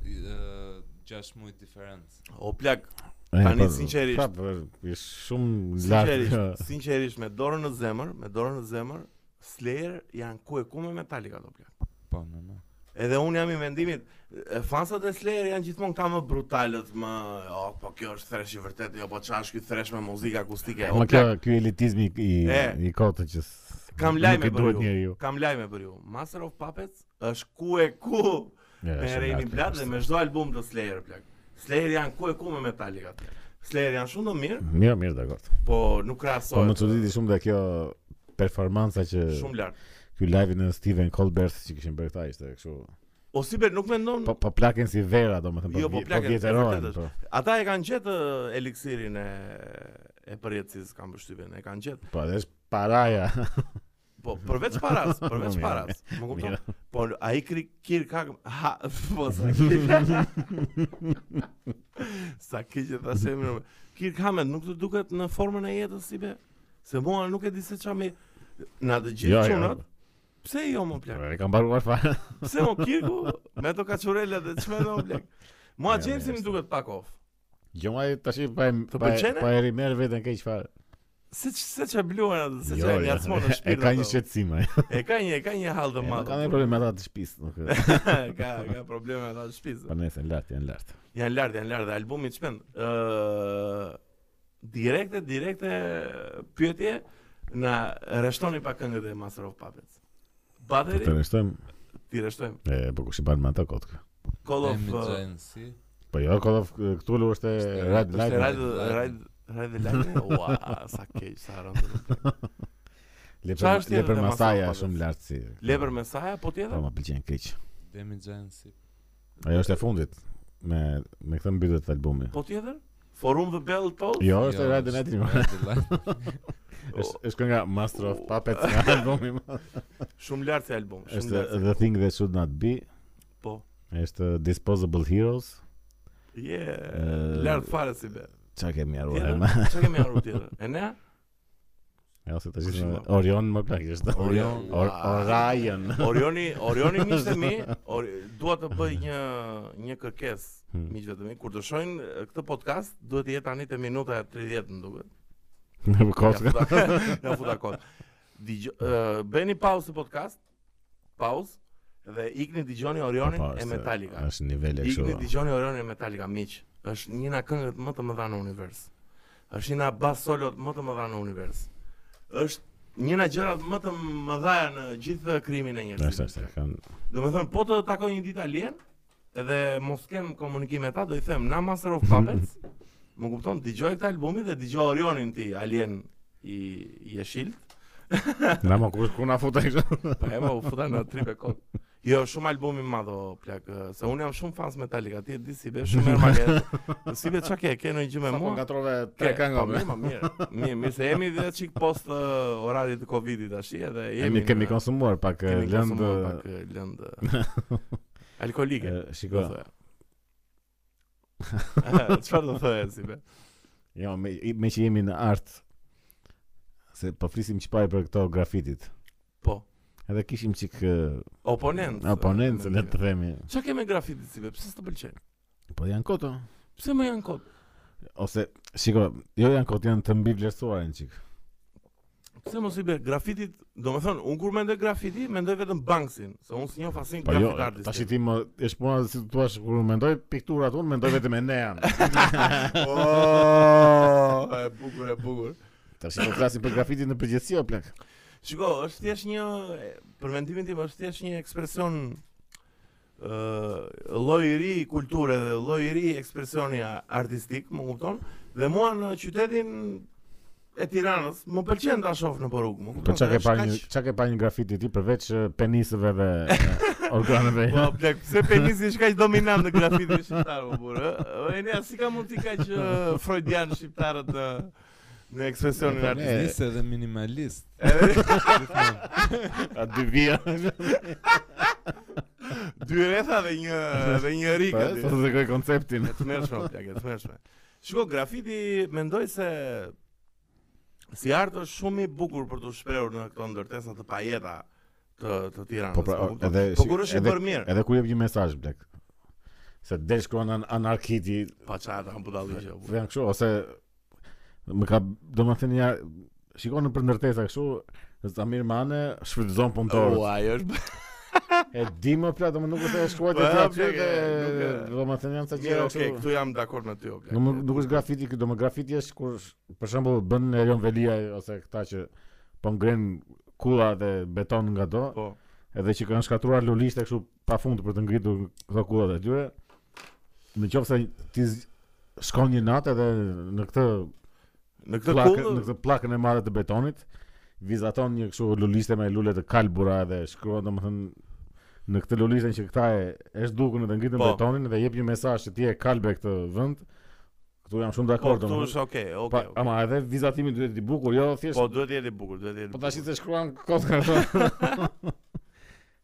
S3: I- ë, Gjashtë muaj diferencë.
S2: o plak,
S1: E,
S2: tani
S1: po,
S2: sinqerisht-
S1: prap, e, është shumë
S2: sinqerisht,
S1: lart.
S2: sinqerisht me dorën në zemër, me dorën në zemër, Slayer janë ku e ku me Metallica do plak.
S3: Po, normal.
S2: Edhe unë jam i mendimit, e, fansat e Slayer janë gjithmonë këta më brutalët, më, oh, po kjo është thrash i vërtetë, jo po çfarë është ky thrash me muzikë akustike. O
S1: Ma
S2: plak,
S1: kjo ky elitizmi i
S2: E.
S1: i kotës që s-
S2: Kam
S1: nuk
S2: lajme
S1: i
S2: për
S1: duhet
S2: ju.
S1: njeriu.
S2: Kam lajme për ju. Master of Puppets është ku e ku
S1: Ja,
S2: me
S1: shumë
S2: Rainy
S1: lart,
S2: Blood
S1: është.
S2: dhe me çdo album të Slayer plak. Slayer janë ku e ku me Metallica. Slayer janë shumë të mirë,
S1: Mirë, mirë, dakor.
S2: po nuk
S1: Po më
S2: krahasohet.
S1: çuditi shumë dhe kjo performanca që
S2: shumë lart.
S1: ky live në Steven Colbert që kishin bërë këta ishte kështu
S2: O si be, nuk mendon
S1: Po po plaken si vera domethënë po
S2: Jo, po
S1: vje- po
S2: plaken, e
S1: vjetërohen.
S2: vërtet
S1: Po.
S2: ata e kanë gjetë ë, eliksirin e e përjetësisë kam përshtypjen, e kanë gjetë.
S1: Po, dhe është paraja.
S2: Po përveç paras,
S1: <laughs>
S2: përveç
S1: Mirë,
S2: paras. Më kupton?
S1: mirë.
S2: Po ai kri kir ka ha, <laughs> po sa kir. <laughs> sa kir që thashë më. Kir Hamet nuk të duket në formën e jetës si be. Se mua nuk e di se çfarë me na të
S1: <laughs>
S2: gjithë
S1: Jo, jo. po,
S2: çunat. Pse jo më plak?
S1: E kam mbaruar fare.
S2: Pse o Kirku me ato kaçurela dhe çme do blek. Mua
S1: Ja,
S2: Jamesi
S1: mirë,
S2: më duket pak off.
S1: Jo ma tash i pa
S2: Të
S1: pa
S2: pëlqen e?
S1: pa e rimer veten keq fare.
S2: Se ç- se çe bluhen atë, se
S1: Jo,
S2: çe
S1: jo. <laughs>
S2: ngacmon në
S1: E
S2: shpirt.
S1: ka një
S2: ato.
S1: shqetësim ai.
S2: E ka një, e ka një hall të
S1: E,
S2: madh.
S1: Ka një problem me ata të shtëpisë, nuk.
S2: <laughs>
S1: e-
S2: ka ka probleme ata në shtëpi.
S1: Po nesër lart, janë lart.
S2: Janë lart, janë lart, dhe albumi të shpend. Ë direkte, direkte pyetje na reshtoni pa këngët e Master of Puppets.
S1: Po të
S2: Bateri,
S1: rështojmë.
S2: ti reshtojmë.
S1: E, po kush i bën me ata kot. kë?
S2: Call of
S3: Amy
S2: uh,
S3: Jane, si?
S1: Po jo, Call of Cthulhu është e
S3: Është e
S1: Red
S3: Red- është e
S1: Light.
S3: Red-
S2: eh, Ride Ride Ride the Lightning. Ua, sa keq, sa rëndë. Qa është tjetër
S1: Lepër Masaja
S2: dhe Masao,
S1: është shumë lart si.
S2: Lepër me saja, po
S1: Po
S2: tjetër?
S1: më pëlqen keq.
S3: Amy Jane, si?
S1: Ajo është e fundit me me këtë mbytet albumi.
S2: Po tjetër? Forum the Bell Tolls?
S1: Jo, është e
S3: Jo,
S1: Red
S3: <laughs>
S1: Light.
S3: Red
S2: <laughs>
S3: Light.
S1: <laughs>
S2: Po,
S1: Është është kënga Master of Puppets nga albumi. më.
S2: Shumë lart se album. Shumë
S1: Është
S2: lart. se-
S1: The Thing That Should Not Be,
S2: Po.
S1: është Disposable Heroes.
S2: Yeah,
S1: Eh,
S2: lart fare si be.
S1: Çka kemi arruar
S2: Tjetër?
S1: më?
S2: Çka kemi harruar tjetër? E ne?
S1: Ja, se tash
S2: Kush i
S1: ishte
S2: mba?
S1: Orion më plak është.
S2: Orion.
S1: Or
S2: <laughs>
S1: Orion.
S2: Orioni,
S1: <laughs>
S2: Orioni miqtë mi, or, dua të bëj një një kërkesë
S1: Hmm.
S2: miqve të mi. Kur të shohin eh, këtë podcast, duhet të jetë tani te minuta 30 më duket.
S1: Në
S2: Ja
S1: kotë.
S2: futa, <laughs> ja futa kot. Digjo, uh, bëni pauzë të podcast. Pauzë dhe ikni dëgjoni Orionin
S1: Po, po,
S2: e
S1: është-
S2: Metallica.
S1: Është nivele
S2: Ikni
S1: kështu.
S2: dëgjoni Orionin e Metallica miq. Është një nga këngët më të mëdha në univers. Është një nga bas solot më të mëdha në univers. Është një nga gjërat më të mëdha në gjithë krimin e
S1: Është
S2: njerëzimit.
S1: është kanë
S2: <laughs> Do me thënë, po të takoj një ditë alien Edhe mos kem komunikim me ta Do i them, na Master of
S1: <laughs>
S2: Puppets Më kupton, dëgjoj këtë albumi Dhe dëgjoj Orionin ti, alien I, i Shield
S1: Na më kush ku na futa kështu.
S2: Pa Po e ma u futa në tripe kot Jo, shumë albumi madh o plak ë, Se unë jam shumë fans Metallica Ti e di si be, shumë merë
S1: <laughs>
S2: malet Si be, qa ke, ke në gjë me
S1: Po
S2: mua
S1: ngatrove
S2: Ke,
S1: tre këngë.
S2: po,
S1: me.
S2: mirë, ma, mirë, mirë, mirë, se jemi dhe çik post ë, orarit të Covidit tash, edhe jemi.
S1: Jemi kemi
S2: në-
S1: konsumuar pak
S2: kemi
S1: lëndë.
S2: konsumuar pak, ë, lëndë
S1: <laughs>
S2: ë, alkolike.
S1: Shiko.
S2: Do thoja. Aha, <laughs> Çfarë do thoya si be?
S1: Jo, me, i- me që jemi në art se po flisim çfarë për këto grafitit.
S2: Po.
S1: Edhe kishim çik ë,
S2: Oponent.
S1: oponencë, le të themi.
S2: Çka ke me grafitit si be? Pse s'të pëlqen?
S1: Po janë koto.
S2: Pse më janë kot?
S1: Ose shiko, jo janë koto, janë të mbivlerësuara një çik.
S2: Pse mos i be grafitit? Do me thënë, unë kur mendoj grafiti, mendoj vetëm Banksin, se unë s'njoh fasin
S1: Po jo,
S2: grafit artist.
S1: tash i
S2: <laughs>
S1: ti më është puna si tu thua kur mendoj pikturat unë mendoj vetëm e
S2: <laughs>
S1: nean.
S2: Oh, e bukur, e bukur.
S1: Tash po flasim për grafitin në përgjithësi o plak.
S2: Shiko, është thjesht një e, për mendimin tim është thjesht një ekspresion ë lloj i ri i kulture dhe lloj i ri i ekspresioni a- artistik, më kupton? Dhe mua në qytetin e Tiranës më pëlqen ta shoh në porrug, më
S1: Po
S2: kupton?
S1: çka
S2: Se
S1: ke
S2: është
S1: pa një
S2: kaq-
S1: çka ke pa një grafiti ti përveç ë, penisëve
S2: <laughs>
S1: dhe ë, organeve.
S2: Po, plak, pse penisi është kaq dominant në grafitin shqiptar, më burë, ë? E ne, si ka mund t'i kaq ë, freudian shqiptarët në, në ekspresionin
S1: Po, ne-
S2: artistik?
S3: Nisë edhe minimalist.
S1: A dy <laughs> vija.
S2: <laughs> Dy rretha dhe një, dhe një
S1: Po,
S2: rikë. aty.
S1: po se kë konceptin.
S2: E të mërshme, o plak, e të mërshme. Shiko, grafiti mendoj se si artë është shumë i bukur për të shprehur në këto ndërtesa të pajeta të të Tiranës.
S1: Po pra,
S2: më kupton?
S1: edhe
S2: po
S1: si-
S2: kur është i
S1: edhe-
S2: bërë mirë.
S1: Edhe kur jep një mesazh blek. Se del shkruan an anarkiti,
S2: Pa çfarë kanë budalliqe. o burr.
S1: janë kështu ose më ka domethënë ja shikon për ndërtesa kështu Zamir Mane shfrytëzon punëtorët.
S2: Ua, ajo është
S1: E di më plot, domo nuk është e shkruajtë
S2: Po,
S1: aty
S2: plak,
S1: aty.
S2: e, nuk e-
S1: Domethënë janë sa
S2: mirë,
S1: gjëra
S2: okay,
S1: kështu.
S2: këtu jam dakord me ty, o plak.
S1: Nuk më- nuk është grafiti, ky, domo grafiti është kur sh- për shembull bën Erion Velia ose këta që po ngren kulla dhe beton nga do,
S2: Po.
S1: edhe që kanë shkatruar lulishte kështu pafund për të ngritur këto kullat e tyre. Në qoftë se ti z- shkon një natë edhe në këtë
S2: Në këtë po,
S1: plakë, në
S2: kullë
S1: këtë plakën e madhe të betonit, vizaton një kështu luliste me lule të kalbura dhe shkruan domethënë në këtë lulistën që këta e është dukun edhe ngritën
S2: Po.
S1: betonin dhe jep një mesazh se ti e kalbe këtë vend. Këtu jam shumë
S2: Po,
S1: dakord
S2: këtu
S1: domethënë.
S2: është okay,
S1: Pa,
S2: okay. okay.
S1: ama edhe vizatimi duhet të bukur, jo thjesht
S2: Po duhet të jetë i bukur, duhet të jetë. i
S1: Po
S2: bukur.
S1: tash i se shkruan kot nga
S2: <laughs>
S1: ato.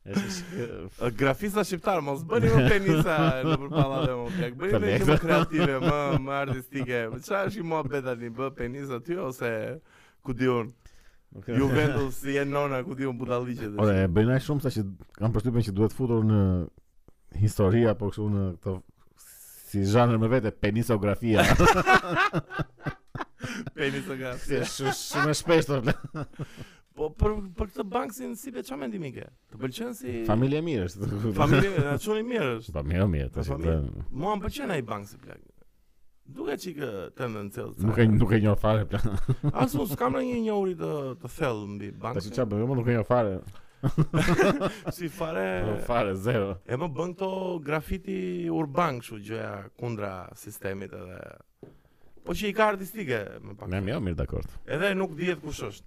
S1: Është shk-
S2: Ë, Grafista shqiptar, mos bëni më penisa në përpallave më plak. Bëni më
S1: Kolekta.
S2: gjë më kreative, më më artistike. Çfarë është i mohabet tani bë penis aty ose ku diun?
S1: nuk e-
S2: Juventus si e nona ku diun budalliqet.
S1: Ore, e bëjnë ai shumë sa që kam përshtypjen që duhet futur në histori apo kështu në po këto si zhanër me vete penisografia.
S2: Penisografia.
S1: Se shu- shumë e shpeshtë. o, ble.
S2: Po për për këtë banksin si be çfarë mendimi ke? Të pëlqen si
S1: Familje e mirë është.
S2: familje, a çuni mirë është.
S1: Familje e mirë, tash.
S2: Familje.
S1: ble.
S2: Mua më pëlqen ai banksi plak. Duke çikë tendencioz.
S1: Nuk e nuk e njoh fare. ble.
S2: as unë s'kam ndonjë njohuri të të thellë mbi
S1: Tash
S2: banksin.
S1: çfarë bëjmë, unë nuk e njoh fare.
S2: Si fare.
S1: Fare zero.
S2: E më bën këto grafiti urban kështu gjëja kundra sistemit edhe Po që i ka artistike më pak.
S1: Ne mirë, mirë dakord.
S2: Edhe nuk dihet kush është.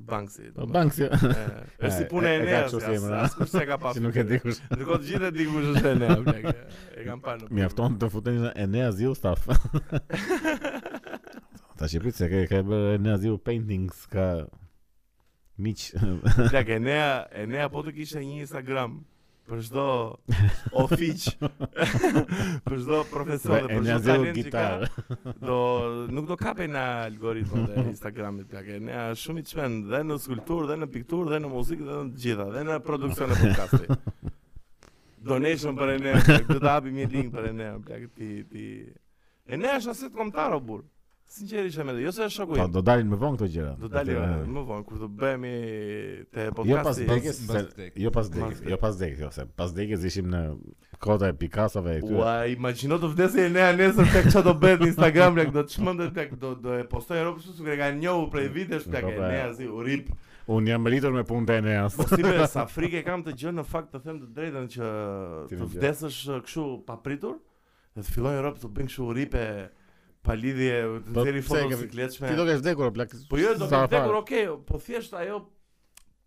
S2: Banksi.
S1: Po Banksi,
S2: Është si
S1: <laughs> E,
S2: puna e
S1: e- e ka
S2: Eneas.
S1: kështu si emër, a?
S2: Askush
S1: <laughs>
S2: s'e ka pa.
S1: si nuk e di kush.
S2: Ndërkohë të gjithë e di kush është Enea, <laughs> blek. E kam parë. në <laughs>
S1: Mjafton të futeni në Enea Ziu staff. Ta shqipit se ka, ka e bërë Enea Ziu paintings ka miq.
S2: film. Blek, Enea, Enea po të kishte një Instagram për çdo
S1: <laughs>
S2: ofiç, <laughs> për çdo profesor dhe për
S1: Enea Ziu
S2: çdo talent që ka,
S1: gitarë.
S2: do nuk do kapej në algoritmat e Instagramit, blek. Enea është shumë i çmend dhe në skulpturë, dhe në pikturë, dhe në muzikë, dhe në të gjitha, dhe në produksion e podcastit. Donation për Enea, blek. do të hapim një link për Enea, blek. Ti ti Enea është aset kombëtar o burr. Sinqerisht e mendoj, jo se është shoku
S1: Po
S2: im.
S1: do dalin më vonë këto gjëra. eh,
S2: Do dalim
S1: Atëherë,
S2: më vonë kur të bëhemi te
S1: Po, Jo pas
S2: podcasti.
S1: dekës,
S3: Mbas- mbas
S1: se-
S3: dekës.
S1: jo pas
S2: Mbas
S1: dekës,
S2: dekës.
S1: jo pas dekës, jo se pas dekës ishim në kota e Picasso-ve e këtyre.
S2: Ua, imagjino të vdesë e nea nesër tek çfarë do bëhet në Instagram, lek do të çmendet tek do do e postoj rrobë kështu sikur e kanë njohur prej vitesh tek
S1: Po,
S2: e
S1: pra.
S2: nea si u rip.
S1: Unë jam rritur me punë të Eneas.
S2: Po si be sa frikë e kam të gjë në fakt të them të drejtën që
S1: Ti
S2: të
S1: me gjë.
S2: vdesësh uh, kështu pa pritur dhe të fillojnë rrobë të bëjnë kështu ripe pa lidhje, të
S1: Po,
S2: nxjerrin
S1: pse
S2: foto
S1: ke- Ti do
S2: sikletshme.
S1: kesh vdekur o plak.
S2: Po jo, do të
S1: sa
S2: vdekur,
S1: fare.
S2: okay, po thjesht ajo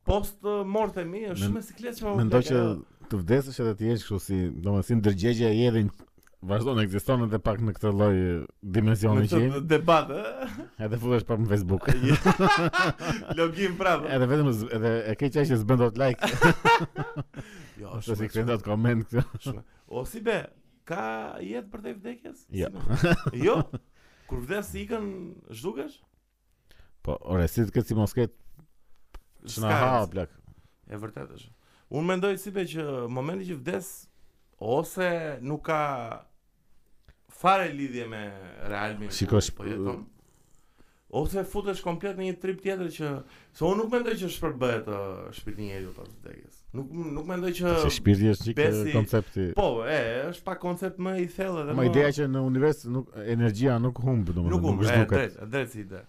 S2: post uh, morte mi është
S1: Men-
S2: shumë e sikletshme. po o,
S1: Mendoj
S2: plak,
S1: që
S2: ajo-
S1: të vdesësh edhe të jesh kështu si, domethënë si ndërgjegje e jedhin vazhdon ekziston edhe pak në këtë lloj e, dimensioni
S2: Në
S1: që
S2: të
S1: jemi,
S2: debat, eh? <laughs> ë?
S1: edhe futesh pak në
S2: <laughs>
S1: Facebook.
S2: Login prapë.
S1: Edhe vetëm z- edhe e ke qaj që s'bën dot
S2: <laughs>
S1: like,
S2: Jo,
S1: ose
S2: shumë
S1: si
S2: e
S1: kthen dot comment këtë.
S2: shumë- shumë. O si be, ka jetë për te vdekjes?
S1: Jo.
S2: Si be? jo? Kur vdes i ikën zhdukesh?
S1: Po, ore, si të këtë si mos ketë çna
S2: S'ka
S1: ha
S2: rëndsi.
S1: plak.
S2: E vërtet është. Unë mendoj si be që momenti që vdes ose nuk ka fare lidhje me realmin.
S1: Shikosh,
S2: po jeton. Ose futesh komplet në një trip tjetër që se unë nuk mendoj që shpërbëhet ë, shpirti i njeriu pas vdekjes. Nuk nuk mendoj
S1: Se
S2: që
S1: shpirti është çik
S2: besi-
S1: koncepti.
S2: Po, e, është pa koncept më i thellë edhe
S1: Ma ideja që në univers nuk energjia nuk humb domethënë,
S2: Nuk
S1: nuk
S2: umë, e,
S1: zhduket.
S2: drejt, drejt si ide.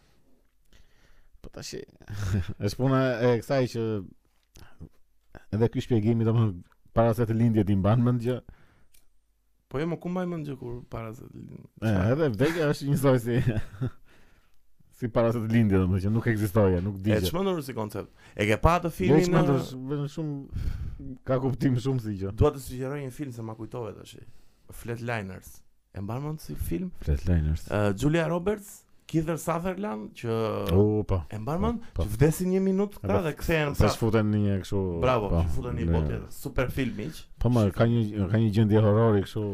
S1: Po tash e- <laughs> është puna e kësaj që edhe ky shpjegimi domethënë para se të lindje ti mban mend gjë.
S2: Po jo, më ku mbaj mend gjë kur para se të lind.
S1: E, edhe vdekja është njësoj si <laughs> si para se të lindje domethënë që nuk ekzistoja, nuk
S2: E
S1: di gjë.
S2: çmendur si koncept. E ke pa atë
S1: Jo,
S2: filmin? uh,
S1: çmendur
S2: ë,
S1: është vetëm shumë ka kuptim shumë si gjë.
S2: Dua të sugjeroj një film se ma kujtove tash. Flatliners. E mban mend si film?
S1: Flatliner.
S2: Ë, Julia Roberts, Keith Sutherland që
S1: U po.
S2: e mban mend
S1: po.
S2: që vdesin një minutë këta
S1: Edhe
S2: dhe kthehen
S1: Sa
S2: prapë.
S1: shfuten në një kështu.
S2: Bravo,
S1: po,
S2: që futën një
S1: në-
S2: botë tjetër. Super film miq,
S1: Po më ka një ka një gjendje horrori kështu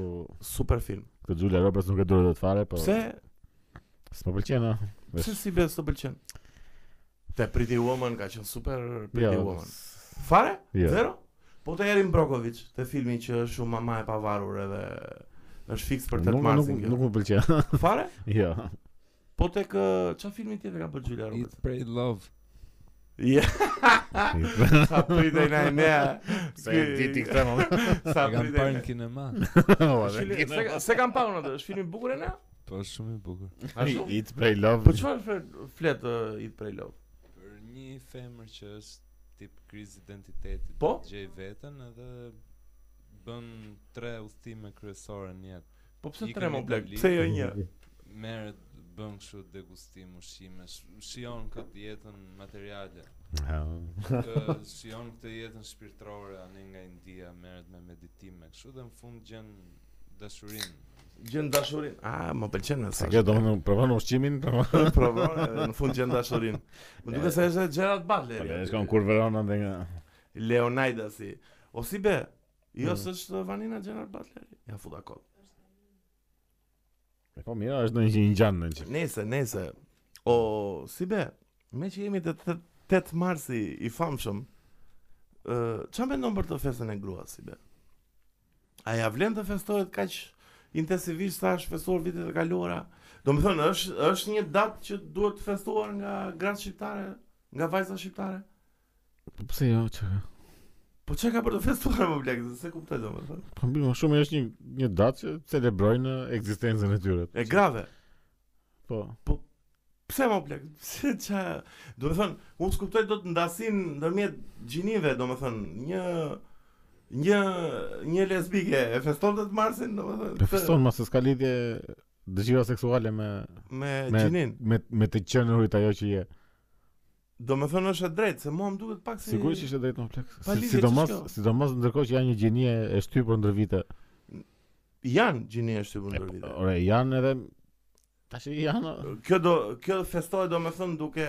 S2: super film.
S1: këtë Julia Roberts nuk e duhet të fare, po.
S2: Pse
S1: S'më po pëlqen. a?
S2: pse si bes të pëlqen? Te Pretty Woman ka qenë super Pretty
S1: Jo,
S2: Woman. Fare?
S1: Jo.
S2: Zero? Po të Erin Brokovic, të filmin që është shumë mama e pavarur edhe është fiks për 8
S1: Nuk-
S2: marsin
S1: Nuk
S2: kjo.
S1: nuk më pëlqen.
S2: Fare?
S1: <laughs> Jo.
S2: Po tek ë, çfarë filmi tjetër ka bërë Julia
S3: Eat,
S2: Roberts?
S3: pray, love.
S2: Ja.
S1: <laughs>
S2: Ah!
S1: Jo.
S2: Sa pritej na nea.
S1: këtë më. <laughs>
S2: Sa
S3: E kam
S2: pritej.
S3: parë në kinema.
S1: Po,
S2: Filmi- se ka- Se kam parë atë, është film i bukur e na?
S3: Po është shumë i bukur.
S2: Ashtu?
S1: Eat pray love.
S2: Po çfarë flet- flet ë, Eat Pray Love?
S3: Për një femër që është tip kriz identitetit,
S2: Po?
S3: gjej veten edhe bën tre udhëtime kryesore në jetë.
S2: Po pse
S3: Ikën
S2: tre më blek?
S3: Itali.
S2: Pse jo një?
S3: Merret bën kështu degustim ushqime, sh- shijon këtë jetën materiale, kë shijon këtë jetën shpirtërore anë nga India, merret me meditime, kështu dhe në fund gjen dashurinë.
S2: Gjën dashurin. Ah, më pëlqen më
S1: Se kjo do
S2: <laughs>
S1: më provon ushqimin, po, provon.
S2: provon edhe në fund gjën dashurin. Më duket se është Gerard Butler.
S1: Po, Ne
S2: ja.
S1: shkon kur Verona dhe nga
S2: Leonajda si. O si be, jo
S1: Mm.
S2: s'është Vanina Gjenar Butleri. Ja futa kot.
S1: E Po mira, është ndonjë ingjan në që.
S2: Nese, nese. O si be, me që jemi të 8 marsi i famshëm, ë çfarë mendon për të festën e gruas si be? A ja vlen të festohet kaq intensivisht sa është festuar vitet e kaluara. Domethënë është është një datë që duhet të festuar nga gratë shqiptare, nga vajza shqiptare.
S1: Po pse jo, çka?
S2: Po çka ka për të festuar më blek, se kuptoj domethënë.
S1: Po mbi më shumë është një një datë që celebrojnë ekzistencën e tyre.
S2: E grave.
S1: Po.
S2: Pse më blek? <laughs> Pse ça? Domethënë, unë skuptoj do të ndasin ndërmjet gjinive, domethënë, një një një lesbike e festonte të marsin, domethënë.
S1: E
S2: pse-
S1: feston mos se s'ka lidhje dëshira seksuale me
S2: me
S1: me
S2: gjinin.
S1: me, me të qenurit ajo që je.
S2: Do me thënë është e drejtë, se mua më duket pak si...
S1: Sigurisht ishte drejt në plak.
S2: Mm. Pa lidhje
S1: Sidomos
S2: që s'ka.
S1: sidomos ndërkohë që janë një gjinie e shtypur ndër vite.
S2: Janë gjini e shtypur
S1: E,
S2: ndër
S1: po,
S2: vite.
S1: Ore, janë edhe tash janë <laughs>
S2: Kjo do kjo festohet domethënë duke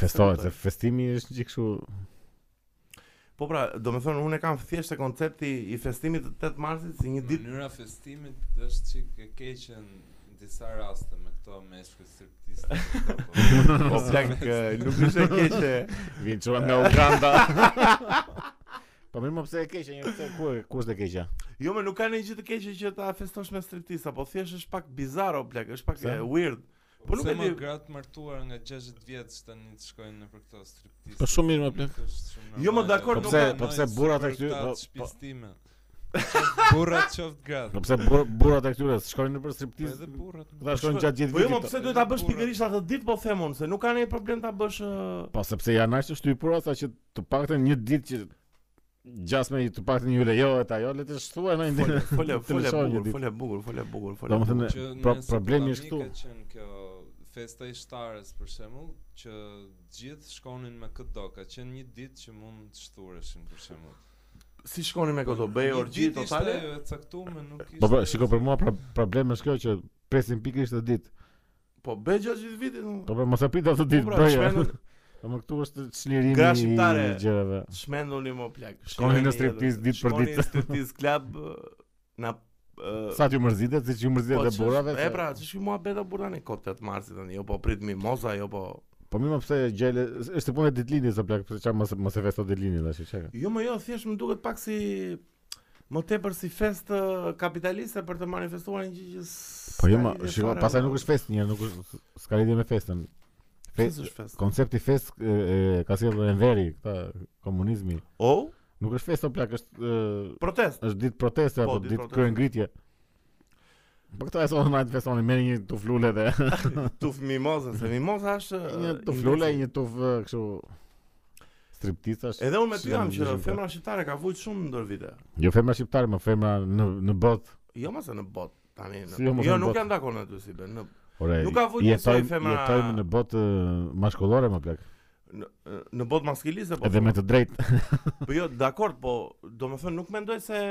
S1: festohet, se festimi është një kështu
S2: Po pra, domethënë unë e kam thjesht e koncepti i festimit të 8 marsit si një ditë
S3: Mënyra e festimit është çik e keqe në disa raste me këto meshkë
S2: <laughs> po
S1: <laughs>
S3: striptiste.
S2: plak nuk është e keqe.
S1: Vinë qërën nga <laughs> Uganda Po mirë më pse e keqe një pse ku e- ku është e keqja?
S2: Jo, më nuk ka ndonjë gjë të keqe që ta festosh me striptiz, apo thjesht është pak bizarro plak, është pak
S1: Pse?
S2: e, weird. Po nuk
S3: Se
S2: e
S3: më
S2: di.
S3: gratë martuar nga 60 vjeç tani të shkojnë në për këto striptiste.
S1: Po shumë mirë, më plak.
S2: Jo, më dakord,
S1: Po pse- po pse burrat e këtyre- po- po-
S3: shpistime. Burrat qoftë
S1: Po
S3: gratë.
S1: pse bur, burrat e këtyre shkojnë nëpër
S3: Po
S1: striptiz?
S3: edhe burrat.
S1: Ata shkojnë gjatë gjithë
S2: Po jo, më
S1: vitit.
S2: pse duhet ta bësh pikërisht atë ditë po them unë, se nuk ka ndonjë problem ta bësh ë,
S1: Po sepse janë aq të shtypura sa që të paktën një ditë që gjasme i të paktën ju lejohet ajo jo, le të shtuaj në një ditë. <laughs>
S2: Fole, fole,
S1: Të
S2: fole
S1: lëshoj një
S2: bukur,
S1: ditë.
S2: fole bukur, fole bukur, fole. bukur.
S1: Domethënë
S3: Që
S1: pro,
S3: nëse
S1: problemi
S3: po
S1: është këtu.
S3: tani Ka qenë kjo festa e shtares për shembull, që gjithë shkonin me këtë do, ka qenë një ditë që mund të shtureshin për shembull.
S2: Si shkonin me këto, bëj
S3: Një
S2: orgji
S3: ditë
S2: totale?
S3: Ishte e caktuar, nuk ishte.
S1: Po po, shiko për mua pra, problemi është kjo që presin pikërisht atë ditë.
S2: Po bëj gjatë gjithë vitit. unë.
S1: Po pra mos e prit atë
S2: Po,
S1: ditë
S2: pra,
S1: bëj.
S2: shmendun-
S1: Po më këtu është çlirimi
S2: Gra
S1: i
S2: shqiptare.
S1: gjërave.
S2: Shmenduni më plak.
S1: Shkoni në
S2: shmenduni
S1: striptiz
S2: edhe-
S1: ditë për
S2: shkoni
S1: ditë.
S2: në striptiz club eh, na ë,
S1: Sa t'ju mërzitet, siç ju mërzitet e
S2: po,
S1: burrave.
S2: E
S1: se-
S2: pra, ç'është mua beta burra në kot 8 marsit tani, jo po prit mimoza, jo po.
S1: Po më pse gjele është punë e ditëlindjes apo plak, pse çfarë mos mos e festo ditëlindjen tash çka.
S2: Jo më jo, thjesht më duket pak si më tepër si festë ë, kapitaliste për të manifestuar një gjë që s-
S1: Po jo,
S2: ka
S1: ma,
S2: lidhje
S1: shiko,
S2: fare, po,
S1: pastaj
S2: o,
S1: nuk është festë një, nuk është s'ka lidhje me festën.
S2: pse
S1: Fe,
S2: s'është festë.
S1: koncepti fest e, e, ka sjellë Enveri, këta komunizmi.
S2: O,
S1: Nuk është festë o plak, është e,
S2: protest.
S1: është ditë proteste
S2: Po,
S1: apo
S2: ditë
S1: ditë
S2: proteste.
S1: kryengritje. Po këta e sonë najtë festonin, merë një tuf lule dhe
S2: Tuf mimoza, se mimoza është ë,
S1: Një tuf
S2: një
S1: lule,
S2: gjë-
S1: një tuf e, kështu Striptistash
S2: Edhe unë me ty
S1: Shqiptar
S2: jam
S1: në
S2: që
S1: Shqiptar.
S2: femra shqiptare ka vujt shumë ndër vite.
S1: Jo femra shqiptare, më femra në, në botë
S2: Jo mase në bot tani. Në...
S1: Si jo, mos
S2: jo
S1: në
S2: nuk
S1: bot.
S2: jam dakord me ty si ben. Në...
S1: Ore,
S2: Nuk ka vujt njësoj
S1: jetojmë-
S2: femra-
S1: Jetojmë në botë e, mashkullore më plak
S2: Në, në bot maskiliste po.
S1: Edhe me të
S2: <laughs>
S1: drejtë
S2: Po jo, dakord, po domethënë nuk mendoj se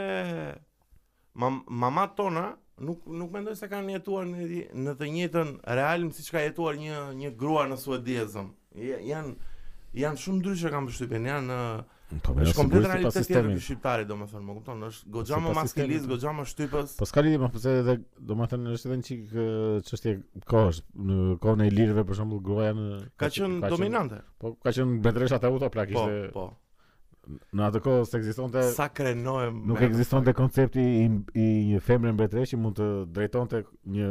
S2: mam, mamat tona nuk nuk mendoj se kanë jetuar në di- në të njëjtën realm siç ka jetuar një një grua në Suedi e zëm. Ja- Janë janë shumë ndryshe kam përshtypjen, janë ë,
S1: Po
S2: është komplet
S1: sigurisht
S2: realitet tjetër
S1: sistemi.
S2: ky shqiptari domethënë, më kupton, është goxha më
S1: Sipas
S2: maskilist,
S1: sistemit.
S2: goxha më shtypës.
S1: Po s'ka lidhje, më pse edhe domethënë është edhe një çik ë, çështje kohësh. Në kohën e lirëve për shembull gruaja në
S2: Ka qenë dominante.
S1: Po ka qenë mbretëresha te uto plak
S2: Po,
S1: ishte.
S2: po.
S1: Në atë kohë s'ekzistonte
S2: Sa krenohem.
S1: nuk
S2: me-
S1: ekzistonte koncepti i, i një femre mbretëresh që mund të drejtonte një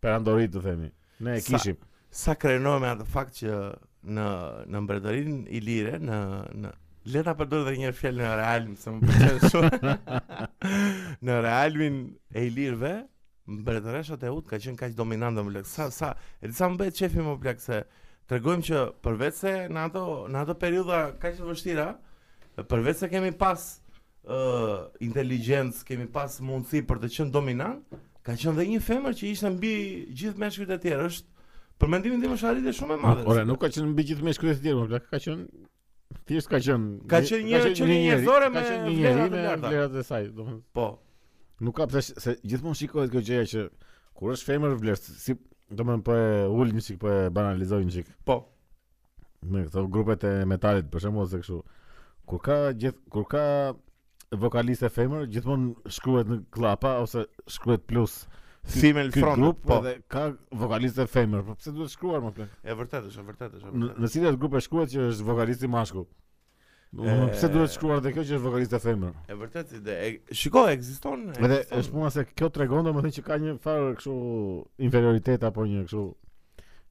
S1: perandorit të themi. Ne e
S2: Sa-
S1: kishim.
S2: Sa krenohem me atë fakt që në në mbretërinë ilire në në le ta përdor edhe një herë fjalën e realm se më pëlqen
S1: <laughs>
S2: shumë. <laughs> në realmin e ilirëve mbretëreshët e ut ka qenë kaq dominante më lek. Sa sa e di sa më bëhet çefi më plak se tregojmë që përveç se në ato në ato periudha kaq të vështira, përveç se kemi pas ë inteligjencë, kemi pas mundësi për të qenë dominant, ka qenë dhe një femër që ishte mbi gjithë meshkujt e tjerë. Është për mendimin tim është arritje shumë e madhe.
S1: Ora nuk ka qenë mbi gjithë me shkruajtë të tjerë, më plak ka qenë thjesht ka qenë
S2: Ka qenë një- qenie
S1: njeri-
S2: njerëzore
S1: ka
S2: me
S1: qenë një
S2: vlerat
S1: njeri
S2: e
S1: me
S2: larta.
S1: vlerat e saj, domethënë
S2: po.
S1: Nuk ka pse se gjithmonë shikohet kjo gjëja që kur është femër vlerë si domethënë po e ul një sik po e banalizoj një sik.
S2: Po.
S1: Me këto grupet e metalit për shembull se kështu. Kur ka gjith kur ka vokaliste femër gjithmonë shkruhet në klapa ose shkruhet plus.
S2: Female
S1: Ky
S2: front,
S1: grup
S2: po.
S1: edhe ka vokaliste femër, po pse duhet shkruar më plak?
S2: E vërtet është, e vërtet është. e
S1: Në,
S2: vërtet.
S1: në cilat grupe shkruhet që është vokalisti mashkull? Domethënë,
S2: E-
S1: Pse duhet shkruar dhe kjo që është vokaliste femër?
S2: E vërtet ide. E, shiko, ekziston.
S1: Edhe
S2: ekziston.
S1: është puna se kjo tregon domethënë që ka një farë kështu inferioritet apo një kështu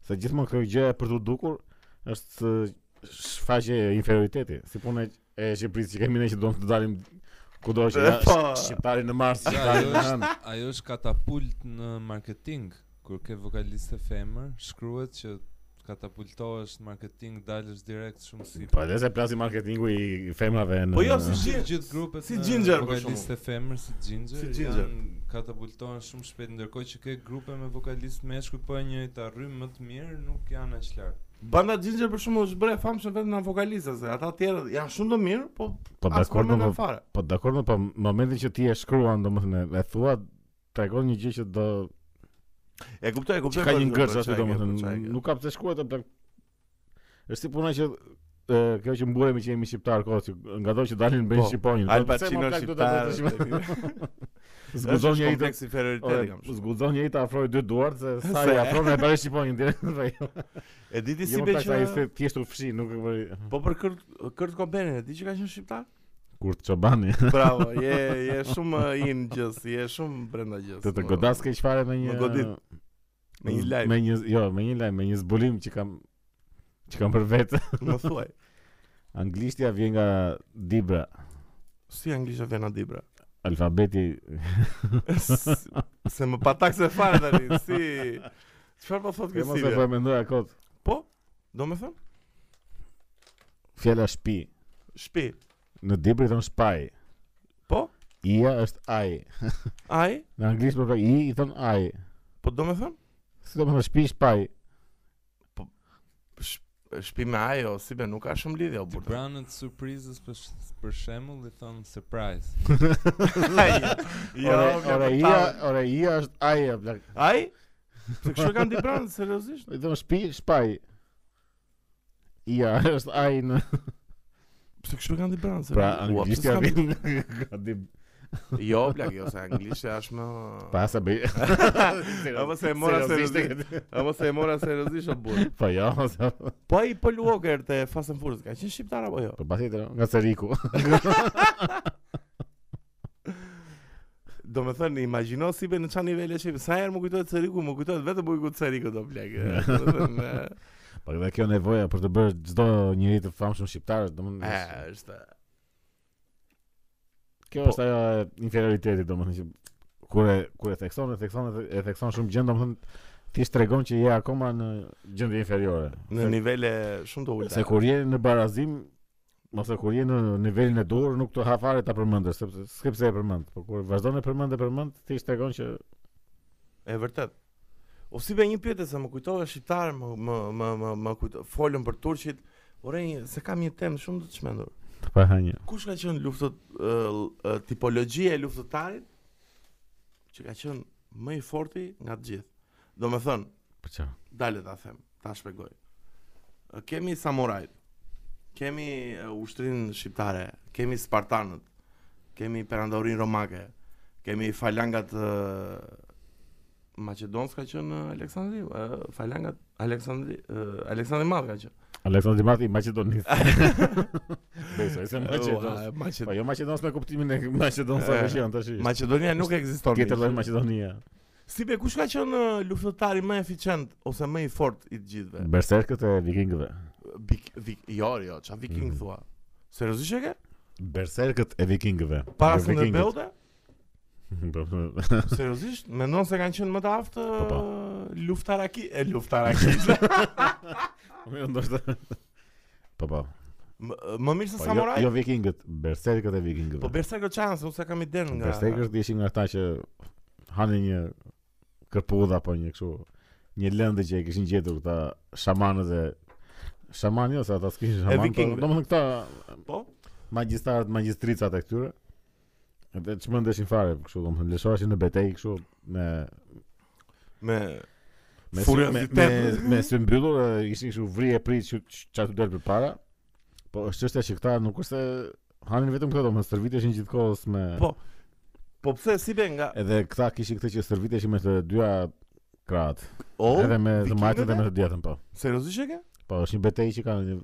S1: se gjithmonë kjo gjë për të dukur është ë, shfaqje e inferioriteti, si puna e- e Shqipërisë që kemi ne që duam të dalim kudo që
S2: <laughs> E,
S1: ja,
S2: po.
S1: shqiptari në Mars,
S3: Ja,
S1: shqiptari
S3: ajo
S1: në
S3: është
S1: Anë.
S3: ajo është katapult në marketing. Kur ke vokaliste femër, shkruhet që katapultohesh në marketing, dalësh direkt shumë si.
S1: Po edhe se plasi marketingu i femrave në
S2: Po jo, si
S3: Si
S2: Gjin-
S3: gjithë grupet
S2: si
S3: në
S2: Ginger, për
S3: vokaliste femër si Ginger,
S2: Si Ginger.
S3: janë katapultohen shumë shpejt ndërkohë që ke grupe me vokalistë meshkuj po e njëjta rrymë më të mirë nuk janë aq lart.
S2: Banda Ginger për shkakun është bërë e famshme vetëm nga vokalista, se ata tjerë janë shumë të mirë, po
S1: po
S2: as
S1: dakord
S2: përmendën
S1: në
S2: fare.
S1: po dakord në po në momentin që ti e shkruan domethënë e thua tregon një gjë që do
S2: E kuptoj,
S1: Që
S2: e kuptoj.
S1: ka
S2: për-
S1: një
S2: për
S1: ngërç
S2: çfarë
S1: aty
S2: ke, për
S1: domethënë,
S2: çfarë ke.
S1: nuk ka pse shkuat atë. Është si puna që e, kjo që mburemi që jemi shqiptar kohë që nga do që dalin bëjnë
S2: Po,
S1: shqiponjë.
S2: Al Pacino shqiptar.
S1: <laughs> Zguzon
S2: Është
S1: njëri të
S2: kompleks inferioriteti kam. shumë.
S1: zguzon njëri të afroj dy duart se sa
S2: Se-
S1: i afron e bëri shqiponjën
S2: <laughs>
S1: direkt.
S2: E di ti si
S1: Jo
S2: be
S1: më sa i
S2: që
S1: se thjesht u fshi, nuk e bëri
S2: Po për Kurt Kurt Cobainin, e di që ka qenë
S1: <laughs>
S2: shqiptar?
S1: kur çobani.
S2: Bravo, je je shumë uh, in gjës, je shumë brenda gjës.
S1: <laughs> Të të
S2: më-
S1: godas keq fare me një
S2: Më godit. Po. me një live,
S1: Me një jo, me një live, me një zbulim që kam që kam për vetë. <laughs>
S2: më thuaj.
S1: Anglishtja vjen nga Dibra,
S2: Si anglisht e vjen Adibra?
S1: alfabeti
S2: S- se më patak se fare tani, si çfarë po thotë
S1: Ke
S2: ky
S1: mos e
S2: Silvia?
S1: po e mendoj akot.
S2: Po, do me thënë,
S1: Fjala shtëpi
S2: shpi,
S1: në Dibër i thon shpaj.
S2: po,
S1: Ia është ai.
S2: aj,
S1: Në anglisht po pra i i thon ai.
S2: po do me thënë,
S1: Si do të thonë shtëpi shpaj?
S2: shpi me aj, o, si be, nuk ka shumë lidhja, o
S3: Ti
S2: burta.
S3: branët surprizës për, sh- për shembull i thon surprise.
S1: <laughs>
S2: <laughs> Jo,
S1: Ore,
S2: nga
S1: ore
S2: kuptava.
S1: ia, ore ia është ai e plak.
S2: Aj? Se kështu e kanë di branë, seriosisht?
S1: I thon shtëpi shpaj. Ia është ai në
S2: Se kështu e kanë di branë,
S1: pra
S2: seriosisht? Ua, pse
S1: anglishtja
S2: s'kam-
S1: vjen nga Dibër.
S2: Jo, plak, jo, se anglishtja është më...
S1: Pa sa bëj.
S2: <laughs>
S1: <laughs>
S2: Apo se e mora seriosisht. Apo se e mora seriosisht o burë.
S1: Po jo, sa.
S2: Po ai Paul Walker te Fast and Furious, ka qenë shqiptar apo jo?
S1: Po pasi të nga Seriku. <laughs>
S2: Do me thënë, imagino si be në qa nivele që Sa herë më kujtojt Seriku, më kujtojt vetëm bujku të Seriku do plek Do me thënë, e,
S1: Po dhe kjo nevoja për të bërë çdo njeri të famshëm shqiptar,
S2: e,
S1: domethënë
S2: është
S1: Kjo
S2: Po.
S1: është ajo e inferioritetit, domethënë që kur e kur e thekson, e thekson, e the- e thekson shumë gjë, domethënë ti tregon që je akoma në gjendje inferiore.
S2: Në nivele shumë të
S1: Se-
S2: ullë
S1: se kur je në barazim ose kur je në nivelin e dur, nuk të ha fare ta përmendësh, sepse s'ke pse e përmend. Po kur vazhdon e përmend e përmend, ti tregon që
S2: E vërtet O si be një pjetë se më kujtove shqiptarë Më, më, më, më, më kujto, folën për Turqit Ore, një- se kam një temë shumë të të shmendur
S1: të pa hanje.
S2: Kush ka qënë luftët uh, Tipologjia e luftëtarit Që ka qënë më i forti nga të gjithë Do me thënë
S1: Po çfarë?
S2: Dale ta them, ta shpjegoj. Kemi samurajt, kemi e, ushtrinë shqiptare, kemi spartanët, kemi perandorin romake, kemi falangat e, Maqedonës ka qenë e, Aleksandri, e, falangat Aleksandri, e, Aleksandri Madh ka qenë.
S1: <laughs> Aleksandri Mati i Maqedonisë. Besoj se Maqedonisë.
S2: Ua, Maqed-
S1: Po jo Maqedonisë me kuptimin e Maqedonisë
S2: E,
S1: apo që janë tash.
S2: Maqedonia nuk ekziston.
S1: Tjetër lloj
S2: miq.
S1: Maqedonia.
S2: Si be kush ka qenë e, luftëtari më eficient ose më i fortë i të gjithëve?
S1: Berserkët e vikingëve.
S2: Vik, vik, jo, jo, ç'a viking
S1: Mhm.
S2: thua? Seriozisht e ke?
S1: Berserkët e vikingëve.
S2: Para
S1: Jo, vikingët.
S2: Sunderbeut?
S1: <laughs> Po, po, <laughs>
S2: Seriozisht, mendon se kanë qenë më të aftë
S1: po.
S2: e, luftaraki, e luftaraki.
S1: Mirë, Jo, ndoshta. Po po.
S2: më, më mirë se
S1: Po, jo,
S2: samuraj.
S1: jo vikingët, berserkët e vikingëve.
S2: Po Berserker Chance, unë s'e kam idenë nga.
S1: berserkët ishin nga ata që hanin një kërpudh apo një kështu një lëndë që e kishin gjetur këta shamanët e shaman jo se ata s'kishin shaman, po
S2: vikingëve.
S1: domethënë këta
S2: Po.
S1: magjistarët, magjistricat e këtyre. Edhe çmendeshin fare, kështu domethënë lëshoheshin në betejë kështu me
S2: Me
S1: Me sy, me,
S2: Furiozitet.
S1: me, me sy mbyllur, e, ishin kështu vri e prit që çfarë del përpara. Po është çështja që këta nuk është se hanin vetëm këto, domethënë stërviteshin gjithkohës me
S2: Po. Po pse si be nga
S1: edhe këta kishin këtë që stërviteshin me të dyja krahat.
S2: O,
S1: edhe me të majtën dhe
S2: vikingëve?
S1: me të djetën, po.
S2: seriozisht e ke?
S1: Po është një betejë që kanë një,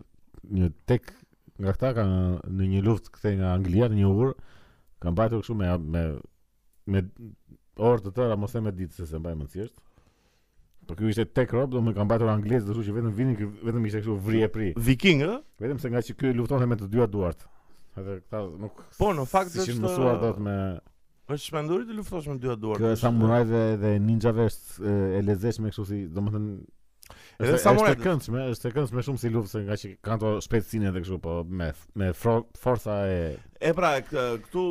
S1: një tek nga këta kanë në një luftë këthe nga Anglia në një urë kanë bajtur kështu me me me orë të tëra mos e me ditë se se mbajnë më thjesht. Po ky ishte tek rob, do më kanë bajtur anglezë, do të thotë që vetëm vinin, kë- vetëm ishte kështu vrije pri.
S2: Viking, ë?
S1: Vetëm se nga që ky luftonte me të dyja duart. Edhe këta nuk
S2: Po, në fakt
S1: si
S2: është
S1: ishin mësuar dot me
S2: është shpendurit të luftosh me dyja duart.
S1: kë
S2: është-
S1: samurajve dhe ninjave është e, e lezeshme kështu si, domethënë
S2: Edhe
S1: Edhe është e
S2: samurajt-
S1: këndshme, është e këndshme shumë si luftë se nga që kanë to shpejtësinë edhe kështu, po me me fro, forca e
S2: E pra, kë- këtu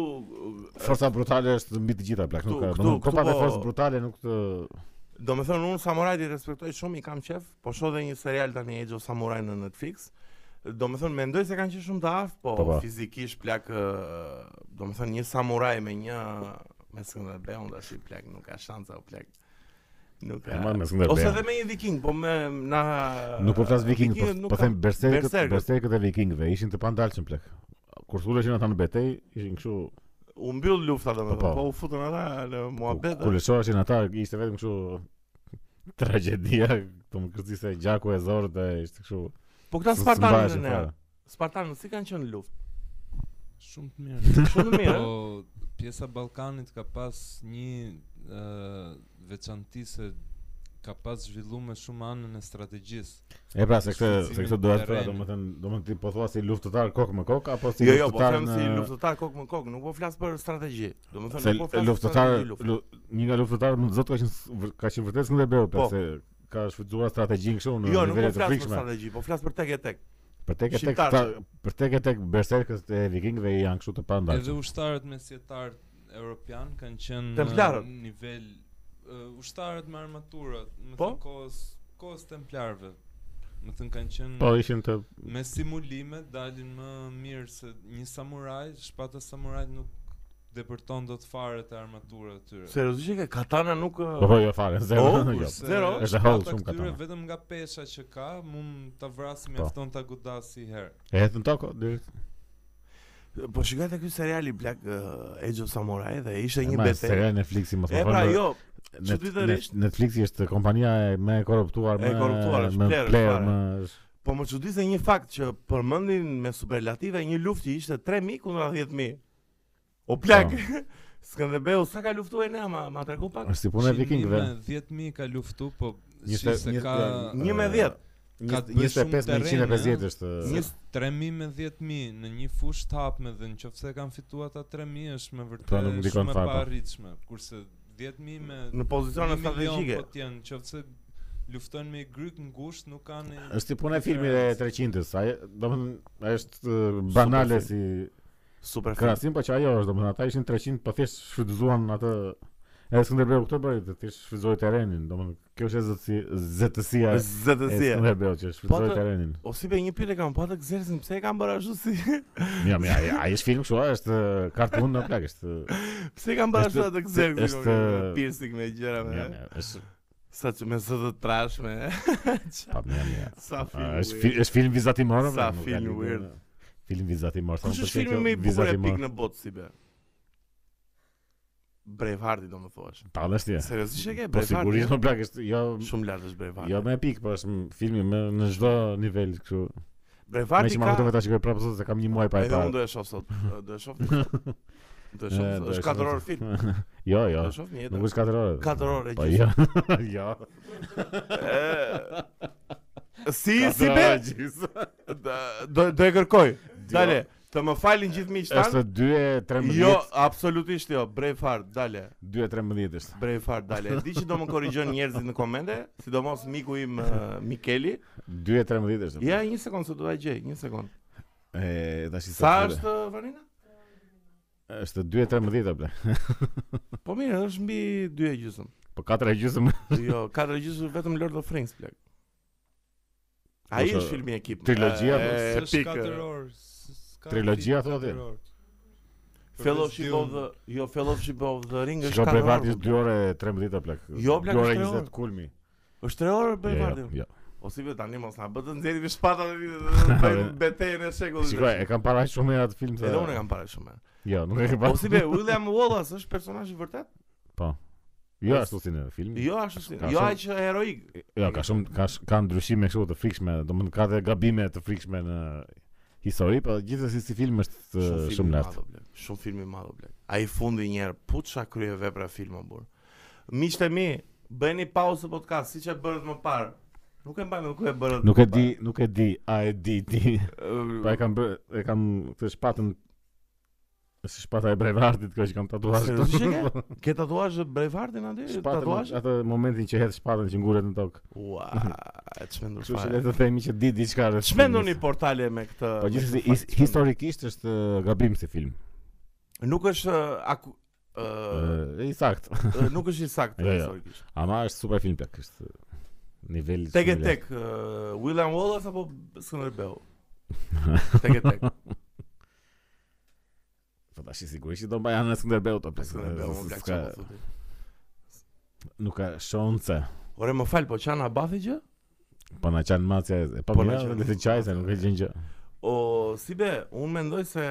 S1: forca brutale është mbi të gjitha plak, nuk
S2: Këtu-
S1: ka.
S2: këtu-
S1: domethënë, Po
S2: këtu
S1: pa
S2: po-
S1: forcë brutale nuk të
S2: Do me thënë, unë Samurai i respektoj shumë, i kam qef, po shoh dhe një serial tani Age of Samurai në Netflix. Do me thënë, mendoj se kanë qenë shumë të aftë, po,
S1: Po, po.
S2: fizikisht plak, ë, do me thënë, një Samurai me një, me Skënderbeun unë tash i plak, nuk ka shansa o plak. Nuk ka.
S1: Normal, me Skënderbeun.
S2: Ose edhe me një viking, po me na
S1: nuk po flas viking, po,
S2: vikingët nuk
S1: po
S2: kanë-
S1: them berserkët,
S2: berserkët.
S1: berserkët e vikingëve ishin të pandalshëm plak. Kur thuleshin ata në betejë, ishin kështu
S2: u mbyll lufta do
S1: Po,
S2: me
S1: po.
S2: thënë, po u futën ata në muhabet.
S1: Kur lëshoheshin ata ishte vetëm kështu tragjedia, <laughs> të më kërci se gjaku e zorët e ishte kështu.
S2: Po këta
S1: s-
S2: Spartanët
S1: s'mbaheshin
S2: ne.
S1: fare.
S2: Spartanët si kanë qenë në luftë?
S3: Shumë të mirë.
S2: Shumë
S3: <laughs>
S2: mirë. ë?
S3: Po pjesa e Ballkanit ka pas një uh, veçanti se ka pas zhvilluar me shumë anën e strategjisë.
S1: E pra se këtë
S3: Shqetësimin
S1: se këtë do të thoya,
S3: terren.
S1: domethënë, domethënë ti po thua si luftëtar kokë me kokë apo si
S2: jo, jo, po
S1: luftëtar
S2: them
S1: në
S2: si luftëtar kokë me kokë, nuk po flas për strategji. Domethënë
S1: se
S2: nuk po flas
S1: luftëtar
S2: për strategji luftë.
S1: lu- një nga luftëtarët më të zot ka qenë s- vë- ka qenë vërtet këndër beu, pra
S2: Po.
S1: se ka shfrytzuar strategjinë kështu në
S2: Jo, nuk po
S1: nivele të
S2: flas për
S1: frikshme.
S2: strategji, po flas për tek e tek.
S1: Për tek e tek
S2: Shqiptarë.
S1: këta- për tek e tek berserkët e vikingëve janë kështu të
S3: Edhe
S1: pandalshëm.
S3: ushtarët mesjetarë europian kanë qenë
S2: Templarët.
S3: në nivel uh, ushtarët me armatura, më
S2: Po?
S3: thënë kohës kohës templarëve. Më thënë kanë qenë
S1: Po ishin të
S3: me simulime dalin më mirë se një samuraj, shpata samuraj nuk depërton dot fare të armatura e tyre.
S2: Seriozisht që katana nuk ë,
S1: Po po jo fare, zero.
S2: Po,
S1: <laughs> jo.
S3: Kurse
S2: Zero.
S1: Është e hollë
S3: shpata
S1: shumë Po.
S3: këtyre
S1: katana.
S3: Vetëm nga pesha që ka, mund ta vrasim mjafton ta godas si herë.
S1: E hetën toko direkt.
S2: po shikoj te ky seriali Black ë, Age of Samurai dhe ishte një
S1: Ma,
S2: betejë.
S1: serial Netflixi mos më
S2: E
S1: thonë,
S2: pra,
S1: bro.
S2: jo,
S1: Net-
S2: çuditërisht-
S1: Net- Netflixi është kompania e më e korruptuar,
S2: E
S1: më
S2: korruptuar, është
S1: më
S2: player,
S1: player,
S2: fare.
S1: më
S2: po më çudi se një fakt që përmendin me superlative një luftë që ishte 3000 kundra 10000. O <laughs> plak. Skënderbeu sa ka luftuar ne ama ma tregu pak.
S1: Po. është si puna e
S3: Që
S1: vikingëve.
S3: një me 10000 ka luftu, po
S1: Një
S3: si
S1: se-
S3: se
S1: një-
S3: ka
S2: Një me
S1: e,
S2: 10.
S3: ka
S1: Një-
S3: të bëjë
S1: 25 me
S3: shumë
S1: 150
S3: terren,
S1: është.
S2: Një-
S1: Një
S3: 3000 me 10000 në një fushë të hapme dhe nëse kanë fituar ata 3000 është me vërtet
S1: Pra nuk ndikon
S3: shumë e
S1: fare, po.
S3: paarritshme, kurse 10000 me
S2: Në pozicione
S3: një milion
S2: strategjike.
S3: po t'jenë, nëse luftojnë me gryk ngushtë nuk kanë një-
S1: është si puna e filmit e
S3: Diferencë.
S1: 300-s. Ai, domethënë, ai është e, banale
S2: film.
S1: si
S2: Super. film.
S1: krahasim, po që ajo është, domethënë, ata ishin 300, po thjesht shfrytëzuan atë Edhe Skënderbeu këtë bëri, të thjesht shfrytëzoi terrenin, domethënë, kjo është e zotësi- zëtësia e
S2: Zëtësia.
S1: Skënderbeu që
S2: Po
S1: shfrytëzoi
S2: të-
S1: terrenin.
S2: O si be një pyetje kam patë gzersin, pse e kam bërë ashtu si? <laughs>
S1: Mirë, mirë, ai- ai është film kështu, a, është e, kartun në plak, është e,
S2: Pse e kam bërë ashtu
S1: Është-
S2: atë gzersin?
S1: është-
S2: me piercing me gjëra
S1: mirë,
S2: me.
S1: mirë, është
S2: Sa që me së të trash me.
S1: pa mirë, mirë.
S2: <laughs> Sa
S1: A,
S2: film.
S1: Është fi- është film vizatimor apo?
S2: Sa
S1: Nuk ka
S2: film
S1: lidhje,
S2: weird.
S1: ne. Film vizatimor. sa më
S2: Kush është
S1: pëlqen
S2: filmi
S1: kjo
S2: më i bukur e
S1: vizatimor.
S2: pik në botë si be? Braveheart do më thuash.
S1: Pa dhe shtje.
S2: Seriozisht e ke
S1: Po
S2: Braveheart?
S1: sigurisht më <laughs> plak është jo
S2: Shumë lart është Braveheart.
S1: jo më pik, po është m- filmi më në çdo nivel kështu. Me
S2: Braveheart
S1: që
S2: i
S1: më
S2: ka.
S1: kuptove ta shikoj prapë sot se kam një muaj pa e
S2: Edhe unë
S1: parë.
S2: do e shoh sot. Do e shoh.
S1: <laughs>
S2: Do e shoh.
S1: E, do e shoh
S2: Është 4
S1: sot.
S2: orë film.
S1: <laughs> Jo, jo.
S2: Do e shoh një
S1: Nuk
S2: jetë.
S1: është 4 orë.
S2: 4 orë e
S1: Po jo.
S2: gjysmë.
S1: <laughs> Jo.
S2: <laughs> E, Si si
S1: Katër
S2: be?
S1: orë e gjysmë.
S2: Da- Do do e kërkoj. Dale, të më falin gjithë miqtan.
S1: Është 2 e 13.
S2: Jo, absolutisht jo. Braveheart, dale.
S1: 2 e 13 është.
S2: Braveheart, dale. E Di që do më korrigjojnë njerëzit në komente, sidomos miku im eh, Mikeli.
S1: 2 e 13 është.
S2: Ja, një sekond se do ta gjej, një sekond.
S1: E tash i
S2: Sa
S1: sot-
S2: është eh, Vanina?
S1: Është 2 e 13 apo?
S2: Po mirë, është mbi 2 e gjysmë.
S1: Po 4 e gjysmë.
S2: Jo, 4 e gjysmë vetëm Lord of the Rings plak. Ai
S1: Ose
S2: është filmi ekip.
S1: trilogjia,
S2: Eh,
S1: po,
S3: S'është
S2: epik, eh,
S3: 4 orë. s'ka
S1: Trilogjia,
S3: film
S1: thotë?
S3: 4 orë.
S2: Fellowship
S3: Përveç
S2: of the jo Fellowship of the Ring është
S1: Shko
S2: 4
S1: Braveheart
S2: orë.
S1: është 2 orë e 13 apo?
S2: po. Jo, plak,
S1: 2 orë e
S2: është tre
S1: 20
S2: orë.
S1: kulmi.
S2: Është 3 orë Braveheart.
S1: Jo, jo, jo.
S2: O Po si vetë tani mos na bë të nxjerrim shpata dhe
S1: <laughs>
S2: të bëjmë betejën e shekullit.
S1: Shikoj, e kam para shumë herë atë film se.
S2: Po, Edhe unë e kam parë shumë. herë.
S1: Jo, nuk e kam para.
S2: O Po, si be, William Wallace është personazh i vërtet?
S1: Jo ashtu si në film.
S2: po, Jo ashtu si.
S1: Ka
S2: Jo
S1: shumë-
S2: aq heroik.
S1: Jo, ka shumë ka sh- ka ndryshime kështu të frikshme, domethënë ka dhe gabime të frikshme në histori, po gjithsesi si film është uh,
S2: Shumë
S1: shumë
S2: film i
S1: lart.
S2: madh, o blek. Shumë film i madh, o blek. Ai fundi një herë puça krye vepra filma burr. Miqtë e mi, bëni pauzë podcast siç e bërët më parë. Nuk e mbaj më ku e bërët.
S1: Nuk e
S2: më
S1: di, nuk e di, a e di ti.
S2: parë.
S1: Po e kam bë, e kam këtë shpatën si shpata e Brevardit, kjo që kam tatuazh
S2: Seriozisht e
S1: këtu.
S2: ke? Ke tatuazh Braveheartin aty?
S1: <laughs>
S2: Tatuazh?
S1: Shpatën atë momentin që hedh shpatën që ngulet në tokë.
S2: Ua, e çmendur
S1: Kështu që le
S2: fare.
S1: të themi që di diçka rreth.
S2: Çmendoni
S1: filmit.
S2: portale me këtë.
S1: Po
S2: me
S1: gjithsesi
S2: këtë fakt,
S1: his-
S2: çmendur.
S1: historikisht është uh, gabim si film.
S2: nuk është uh, aku,
S1: <laughs>
S2: ë,
S1: Ë, Eh, i sakt.
S2: ë, nuk është i saktë
S1: Jo, jo.
S2: historikisht.
S1: Ama është super film plak, është nivel
S2: Tek e
S1: shumë i
S2: tek ë, William Wallace apo Skënder
S1: <laughs>
S2: Beu. Tek e tek.
S1: lartë. Po tash i sigurisht që do mbaj anë Skënderbeu ta plak.
S2: Skënder Beu më plak
S1: S'ka-
S2: çfarë po thotë.
S1: Nuk ka shonce.
S2: Ore më fal, po çana bathi gjë?
S1: Po na çan macja e pa
S2: Po
S1: po
S2: na
S1: na
S2: qanë-
S1: le të çajse nuk e gjen gjë. <laughs>
S2: O, si be, unë mendoj se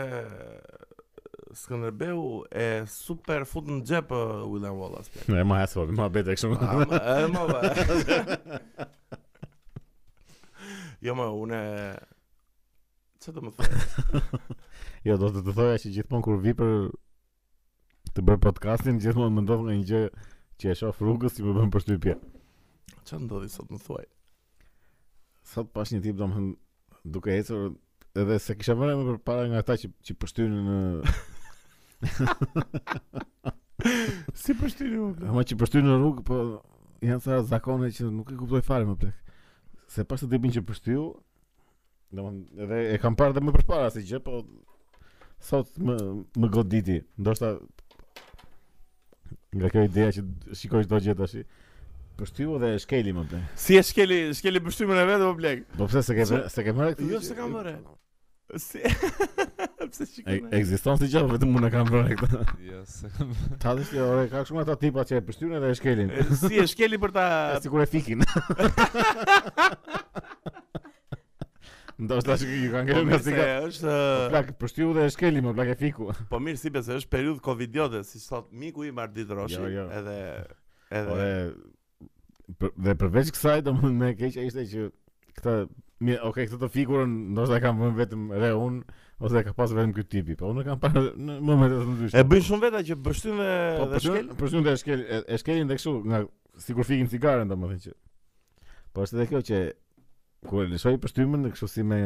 S2: Skënderbeu e super fut në xhep ë, William Wallace.
S1: <laughs>
S2: plak.
S1: E ma hasol, ma bete kështu.
S2: Am, e, ma ba. <laughs> Jo më unë Çfarë do më thë?
S1: <laughs> Jo, do të të thoja që gjithmonë kur vi për të bërë podcastin, gjithmonë më ndodh nga një gjë që e shoh rrugës që më bën përshtypje.
S2: Çfarë ndodhi sot më thuaj?
S1: Sot pash një tip domethënë duke ecur edhe se kisha vënë më përpara nga ata që që përshtynin në
S2: Si përshtyni u?
S1: ama që përshtynin në rrugë, po janë sa zakone që nuk e kuptoj fare më plek. Se pas të tipin që përshtiu, domethënë edhe e kam parë edhe më përpara si gjë, po sot më më goditi. Ndoshta nga kjo ideja që shikoj çdo gjë tash. Përshtiu dhe e shkeli më plek.
S2: Si e shkeli, shkeli përshtymin e vetë po blek.
S1: Po pse se ke
S2: Se-
S1: se ke marrë këtë?
S2: Jo
S1: gjë?
S2: se kam vëre. Si <laughs> pse
S1: E-
S2: shikon?
S1: Ekziston si gjë, vetëm unë e kam vënë këtë.
S3: <laughs> Ja, se kam
S1: Ta dhe shkjo, ore, ka shumë ata tipa që e pështynë dhe e shkelin
S2: E, Si e shkeli për ta
S1: <laughs> E sikur e fikin Ndo është ta që ju kanë
S2: Po
S1: ngelur nga
S2: mirë se
S1: sika
S2: është
S1: Plak, pështyu dhe e shkelin, më plak e fiku
S2: po mirë si besoj është periudhë covidiote, si thot miku im Ardit Roshi,
S1: Jo, Po, jo.
S2: edhe
S1: Ore,
S2: edhe
S1: për- dhe përveç kësaj, do më me keqa ishte që Këta, mi, oke, këtë të fikurën, ndo është ta kam vënë vetëm re unë Ose ka pas vetëm këtë tipi, po unë e kam parë në momentet të
S2: e
S1: ndryshme
S2: bëjnë shumë veta që bështyn dhe
S1: Po
S2: dhe shkel.
S1: përshtynë, përshtynë dhe e shkelin, e- e shkelin dhe kështu nga sikur fikin cigaren domethënë që. Po është edhe kjo që kur e lëshoj përshtymin kështu si me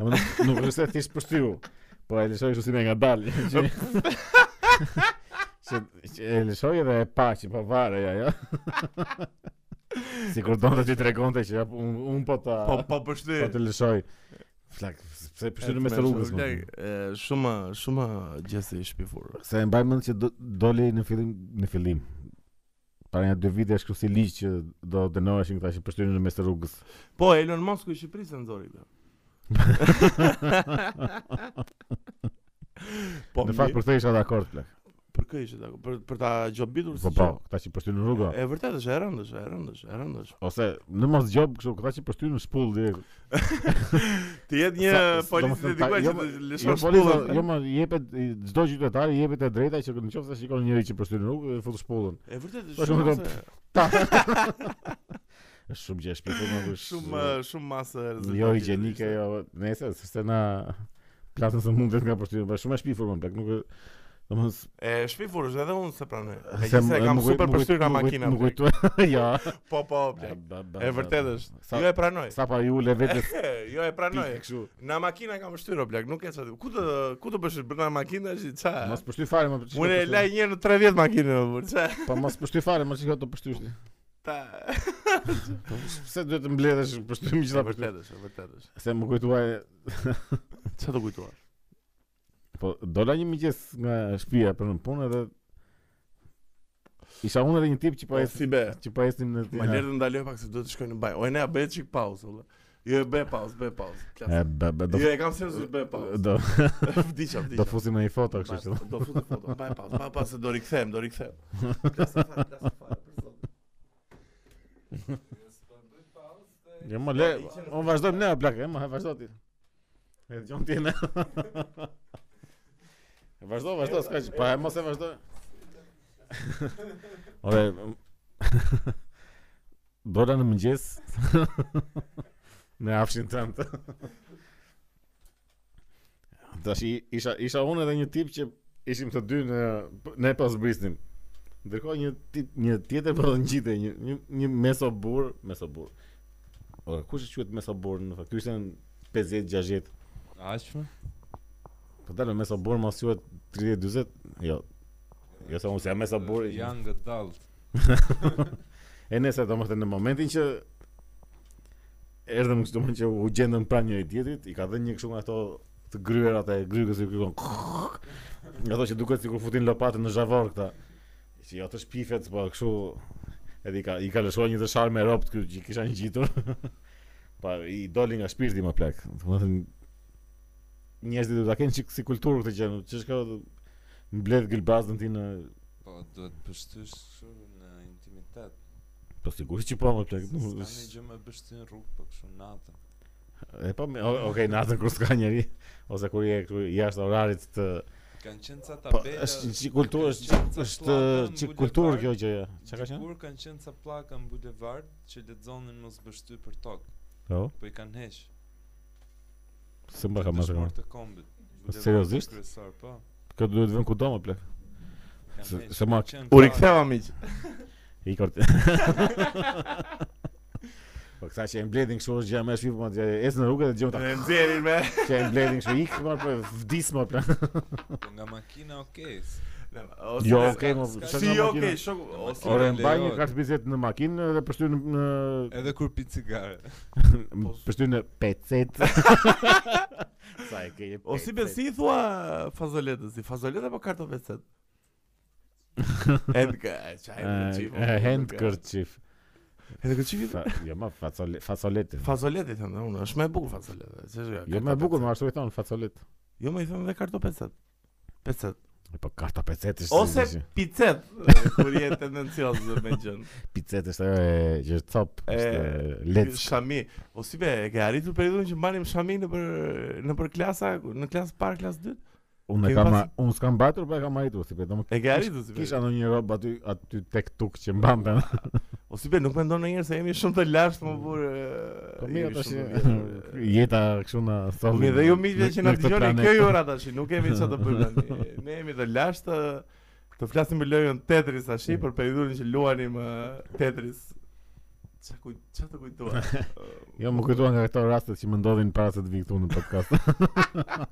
S1: domethënë nuk është se thjesht përshtiu, po e lëshoj kështu si me ngadalë. <laughs> Që, që, që e lëshoj edhe e po pa që pa varej ajo. <laughs> sikur donte ti tregonte që ja, un, un po ta
S2: Po po
S1: po
S2: bështyn.
S1: të lëshoj. Flak, pse përshtynë mes rrugës. më thënë.
S2: Shumë shumë gjësi i shpifur.
S1: Se e mbaj mend që do- doli në fillim në fillim. Para një dy vite është kështu si ligj që do dënoheshin këta që përshtynin në mes të rrugës.
S2: Po Elon Musk i Shqipërisë e nxori.
S1: <laughs>
S2: <laughs> bla. po
S1: në fakt për këtë isha dakord plak.
S2: për kë ishte dakord? Për për ta gjobitur
S1: Po
S2: si
S1: po,
S2: gjë.
S1: këta që përshtynin në rrugë.
S2: E vërtet është e rëndësh, e rëndësh, e rëndësh.
S1: Ose në mos gjob kështu këta që përshtynin në shpull direkt.
S2: Ti jet një
S1: Sa-
S2: policë
S1: domethënë,
S2: dedikuar
S1: ta-
S2: që
S1: jo,
S2: të
S1: Jo
S2: lëshon
S1: polica,
S2: shpullën.
S1: jo më jepet i- çdo qytetar i jepet e drejta që nëse shikon njëri që përshtynin në rrugë, e fut
S2: <laughs>
S1: shpullën.
S2: E vërtet
S1: Po,
S2: është shumë
S1: domethënë,
S2: masë,
S1: Ta. Është shumë gjë e shpejtë, po, është-
S2: shumë eh, shumë masë
S1: Jo higjienike, jo, nëse sepse na plasën së mundet nga përshtytja, po shumë e shpifur më plak, nuk e domethënë s-
S2: E shpifur është edhe unë se pranoj.
S1: se
S2: Megjithëse
S1: m-
S2: kam
S1: më kujt-
S2: super
S1: më kujt-
S2: përshtyr nga
S1: më kujt-
S2: makina.
S1: Më
S2: blek.
S1: kujtu. <laughs> Ja.
S2: Po po, blek. E vërtet është.
S1: Sa
S2: Jo e pranoj.
S1: sa pa ju le
S2: <laughs>
S1: vetes
S2: Jo e pranoj.
S1: pikë kështu.
S2: Na makina kam shtyro blak, nuk e çati. Ku të ku të bësh brenda makinës, ça?
S1: Mos përshtyj fare, më përshtyj.
S2: Unë e laj një herë në 30 makinë, por ça?
S1: Po mos përshtyj fare, më çka do përshtysh.
S2: <laughs>
S1: ti?
S2: Ta.
S1: Po, Pse duhet të mbledhësh përshtymin që ta
S2: Është
S1: përshtyj.
S2: vërtet është, e vërtet është.
S1: Se më kujtuaj,
S2: Çfarë të kujtuar?
S1: po dola një mëngjes nga shtëpia për në punë edhe Isha unë edhe një tip që po
S2: Po
S1: ecë
S2: si be.
S1: që po ecim në
S2: Ma lërë të ndaloj pak se duhet të shkoj në baj. O e ne a bëj çik pauzë, valla. Jo e bëj pauzë, bëj pauzë. plas.
S1: E, ba- ba- do
S2: Jo e kam seriozisht bëj pauzë. <laughs>
S1: do
S2: Vdiqem,
S1: do
S2: vdiqem.
S1: fusim në një foto kështu që.
S2: Baj- Do futë foto. Bëj pauzë, pa pa se do rikthem, do rikthem. Plas, fare, plas, fare, për zotin.
S1: Jo, më le, unë vazhdojmë ne, plak, e, më vazhdo ti. E dëgjon ti ne. E <laughs> vazhdo, vazhdo, s'ka që, pa e mos e vazhdo. <laughs> Ore, m- <laughs> dola në mëngjes, në afshin të të. <laughs> Tash i- isha isha unë edhe një tip që ishim të dy në ne pas brisnim. Ndërkohë një tip një tjetër po ngjitej një një, një mesobur, mesobur. O, kush e quhet mesobur në fakt? Ky ishte në 50 60.
S3: Aq më?
S1: Po dalë mesobur mos quhet 30 40. Jo. Jo se unë se mesobur.
S3: Janë nga dalt.
S1: E nëse do më thënë në momentin që erdhëm kështu më që u gjendëm pranë njëri tjetrit, i ka dhënë një kështu nga ato të gryerat e grykës i krykon. Nga ato që duket sikur futin lopatën në zhavor këta. Që jo të shpifet, po kështu edhe i ka i ka lëshuar një dëshar me ropt këtu që i kisha ngjitur. <laughs> pa i doli nga shpirti më plak. Domethënë njerëzit do ta kenë çik si kulturë këtë gjë, ç'është kjo mbledh gëlbazdën ti në
S3: Po duhet pështysh kështu në intimitet.
S1: po sigurisht që po më plak.
S3: Nuk
S1: nuk-
S3: tani gjë më bështin rrugë po kështu natën.
S1: E po, mi- o- okej, natën kur s'ka njeri ose kur je këtu jashtë orarit të
S3: Kanë qenë ca
S1: po,
S3: tabela.
S1: është një çik kulturë, është çik- është çik kulturë kjo gjë. ja. Çka ka qenë?
S3: Kur kanë qenë ca pllaka në bulevard që lexonin mos bështy për tokë,
S1: Po,
S3: po i kanë heq.
S1: se më ka marrë. Po,
S3: marrë të kombit. Bulevardin
S1: seriozisht?
S3: Kryesor, po.
S1: Kjo duhet vën kudo më plak.
S3: Kanë
S1: Se-
S3: heq.
S1: se ma-
S3: Kanë qenë
S2: U
S3: ca-
S2: riktheva miq.
S1: I kort. <laughs> Po kësa që e mbledhin kështu është gjë më e shpifur, po që ecën në rrugë dhe dëgjojmë ta
S2: Ne nxjerrin me.
S1: që e mbledhin kështu ik më po vdis më plak.
S3: Po <laughs> nga makina okay. s-
S2: Ose-
S1: Jo,
S3: s'ka-
S1: okay, më
S3: s'ka-
S1: çfarë
S2: Si
S1: nga
S2: jo,
S1: makina?
S2: okay, shoku. Ose
S1: Ore
S3: lejohet.
S1: mbaj një kartë bizet në makinë dhe përshtyn në
S3: Edhe kur pi cigare.
S1: <laughs> përshtyn në <laughs> pecet. Sa e ke?
S2: O si be si i thua fazoletës, si fazoleta apo
S1: <laughs>
S2: kartopecet? Handkerchief.
S1: Handkerchief.
S2: Handkerchief.
S1: Fa- Jo ma facole, facolete.
S2: Fazoleti them dhe unë, është më e bukur fazoleta. Ç'është kjo?
S1: Jo më e bukur, më ashtu i thon facolet.
S2: Jo më i them dhe kartopecet. Pecet.
S1: E, Po karta pecet është.
S2: Ose
S1: si- si-
S2: picet, kur je tendencioz me gjën.
S1: picet është ajo e që është top,
S2: E,
S1: është e, lec.
S2: Shami, o si be, e ke arritur periudhën që mbanim shami në për në për klasa, në klasë parë, klasë dytë?
S1: Unë e
S2: kemi
S1: kam,
S2: pas-
S1: unë s'kam mbajtur, po e kam arritur, si vetëm
S2: E ke arritur si be?
S1: kisha ndonjë rob aty aty tek tuk që mbante.
S2: O si be, nuk mendon ndonjëherë se jemi shumë të lashtë më burë. Ε,
S1: Po mirë tash <laughs> jeta kështu na solli.
S2: Mi dhe ju miqve
S1: në-
S2: që
S1: në
S2: na
S1: këtë
S2: dëgjoni
S1: planet.
S2: kjo i ora tash, nuk kemi çfarë të bëjmë tani. Ne jemi të lashtë të flasim për lojën Tetris tash për periudhën që luanim eh, Tetris. Çka kuj, çfarë të kujtoa?
S1: <laughs> Jo, më kujtuan nga këto rastet që më ndodhin para se të vi këtu në podcast.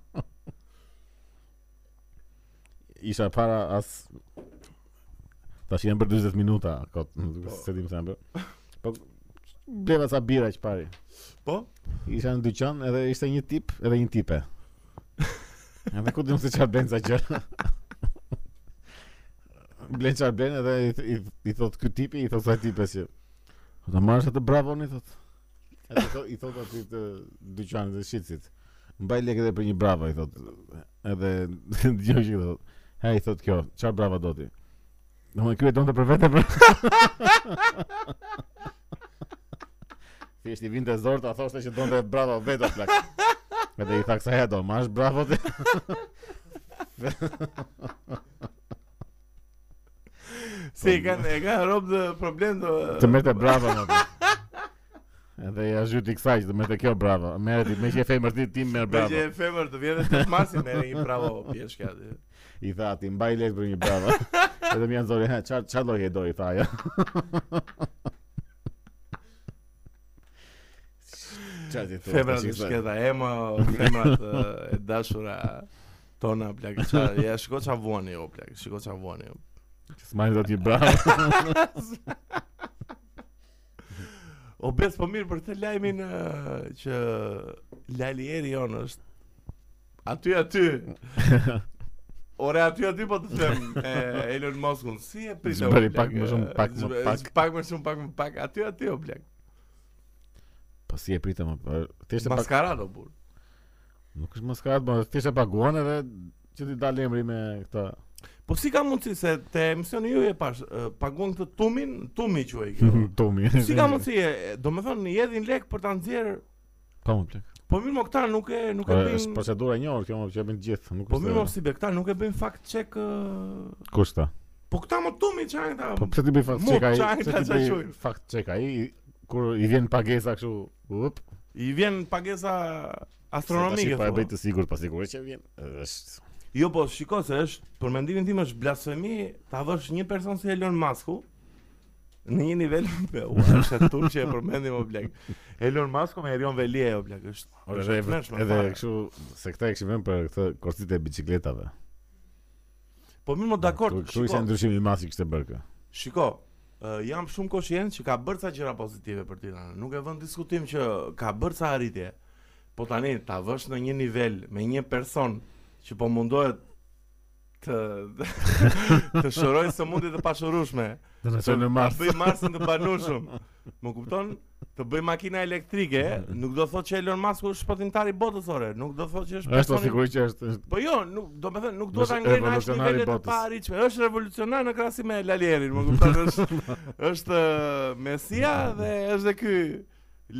S1: Isha para as tash janë për 40 minuta, kot, nuk se dim sa më. bë. Po bleva sa bira që pari.
S2: Po?
S1: Isha në dyqan edhe ishte një tip, edhe një <laughs> tipe. Edhe ku dim se çfarë bën sa gjëra. Blen çfarë blen edhe i, i, i thot ky tipi, i thot sa tipe që. "Po Ta marrësh atë bravon i thot. Edhe i thot- i thot aty të dyqanit të shitësit. Mbaj lekë edhe për një brava i thot. Edhe <laughs> dëgjoj që i thot. Ha i thot kjo, çfarë brava do ti? Domethënë ky e donte për vete për. Thjesht i vinte zort, a thoshte që donte bravo vetë <laughs> plak. Edhe i tha kësaj do, mash bravo ti.
S2: Si e kanë e kanë rob të problem të
S1: Të merrte bravo më. plak. Edhe ja zhyti kësaj që të merrte kjo bravo. Merret me që e femër ti tim merr
S2: Me që
S1: bravo.
S2: e femër të vjetë të marsin e një bravo pjeshke aty
S1: I tha ti mbaj lek për një
S2: <laughs>
S1: bravo. Edhe më janë zori, ha çfarë çfarë lloj e do i tha ajo. Çfarë ti thua?
S2: Femrat
S1: tash i
S2: të
S1: kësaj?
S2: shketa emo, femrat e dashura tona plak qa, ja shiko qa vuani jo plak, shiko qa vuani jo
S1: S'majnë do ti
S2: <laughs>
S1: bravo.
S2: O bes po mirë për të lajmin ë, që Lali Eri jonë është aty
S1: <laughs>
S2: aty Ore aty aty po të them e, Elon Muskun si e pritë o,
S1: Zbëri
S2: plak,
S1: pak më shumë,
S2: ë,
S1: pak më
S2: zbëri
S1: pak.
S2: pak më shumë pak më pak aty aty o plak
S1: Po si e pritëm apo? Thjesht e pak
S2: Maskarado bur
S1: Nuk është maskarat, po thjesht e paguan edhe që ti dal emri me këtë.
S2: Po si ka mundësi se te emisioni ju e pash ë, paguon këtë tumin, tumi quaj kjo.
S1: <laughs> Tomi.
S2: Si ka mundësi, e, do me thënë, i edhin lek për ta nxjerr,
S1: Po më plak.
S2: po mirë mo këta nuk e nuk
S1: Po
S2: e
S1: është
S2: bëjnë.
S1: procedura e njohur kjo më që e bën të gjithë, nuk
S2: Po mirë mo
S1: është.
S2: si be, këta nuk e bëjnë fact check. ë,
S1: Kush ta?
S2: Po këta mo tumi çan këta.
S1: Po pse ti bëj fakt
S2: Mu,
S1: check ai?
S2: çaj,
S1: Pse
S2: ta
S1: ti
S2: çaj
S1: bëj
S2: qojnë.
S1: fakt check ai kur i vjen pagesa kështu, up,
S2: I vjen pagesa
S1: Se
S2: astronomike.
S1: tash i pa e
S2: thua.
S1: bëj të sigurt, pa sigurt që vjen. Është
S2: Jo, po shiko se është, për mendimin tim është blasfemi ta vësh një person si Elon Musku në një nivel <laughs> me u është e turp që e përmendim o blek. Elon Musku me Erion Velie o blek është.
S1: Ore,
S2: e
S1: edhe
S2: vërtetshme,
S1: edhe
S2: fare.
S1: kështu se këta e kishim vënë për këtë korsitë e biçikletave.
S2: Po mirë, më dakord.
S1: Kështu ishte
S2: Shiko,
S1: ndryshimi i madh që kishte bërë kë.
S2: shiko ë, jam shumë koshient që ka bërë ca gjëra pozitive për Tiranën. Nuk e vën diskutim që ka bërë ca arritje. Po tani ta vësh në një nivel me një person që po mundohet të <laughs> të shërojë sëmundje të pashërueshme.
S1: Do të thonë në Mars.
S2: Ta bëj Marsin të banushëm. Më kupton? Të bëj makina elektrike,
S1: <laughs>
S2: nuk do thotë që Elon Musk është shpëtimtar i botës ore, nuk do thotë që është
S1: Është o
S2: personi-
S1: sigurt që është është-
S2: Po jo, nuk do të thënë nuk duhet ta
S1: Është
S2: ngrenë as
S1: revolucionar i
S2: nivelet e
S1: botës.
S2: paarritshme. Është revolucionar në krahasim me Lalierin, më kupton? Është
S1: <laughs>
S2: është eh, Mesia dhe është dhe ky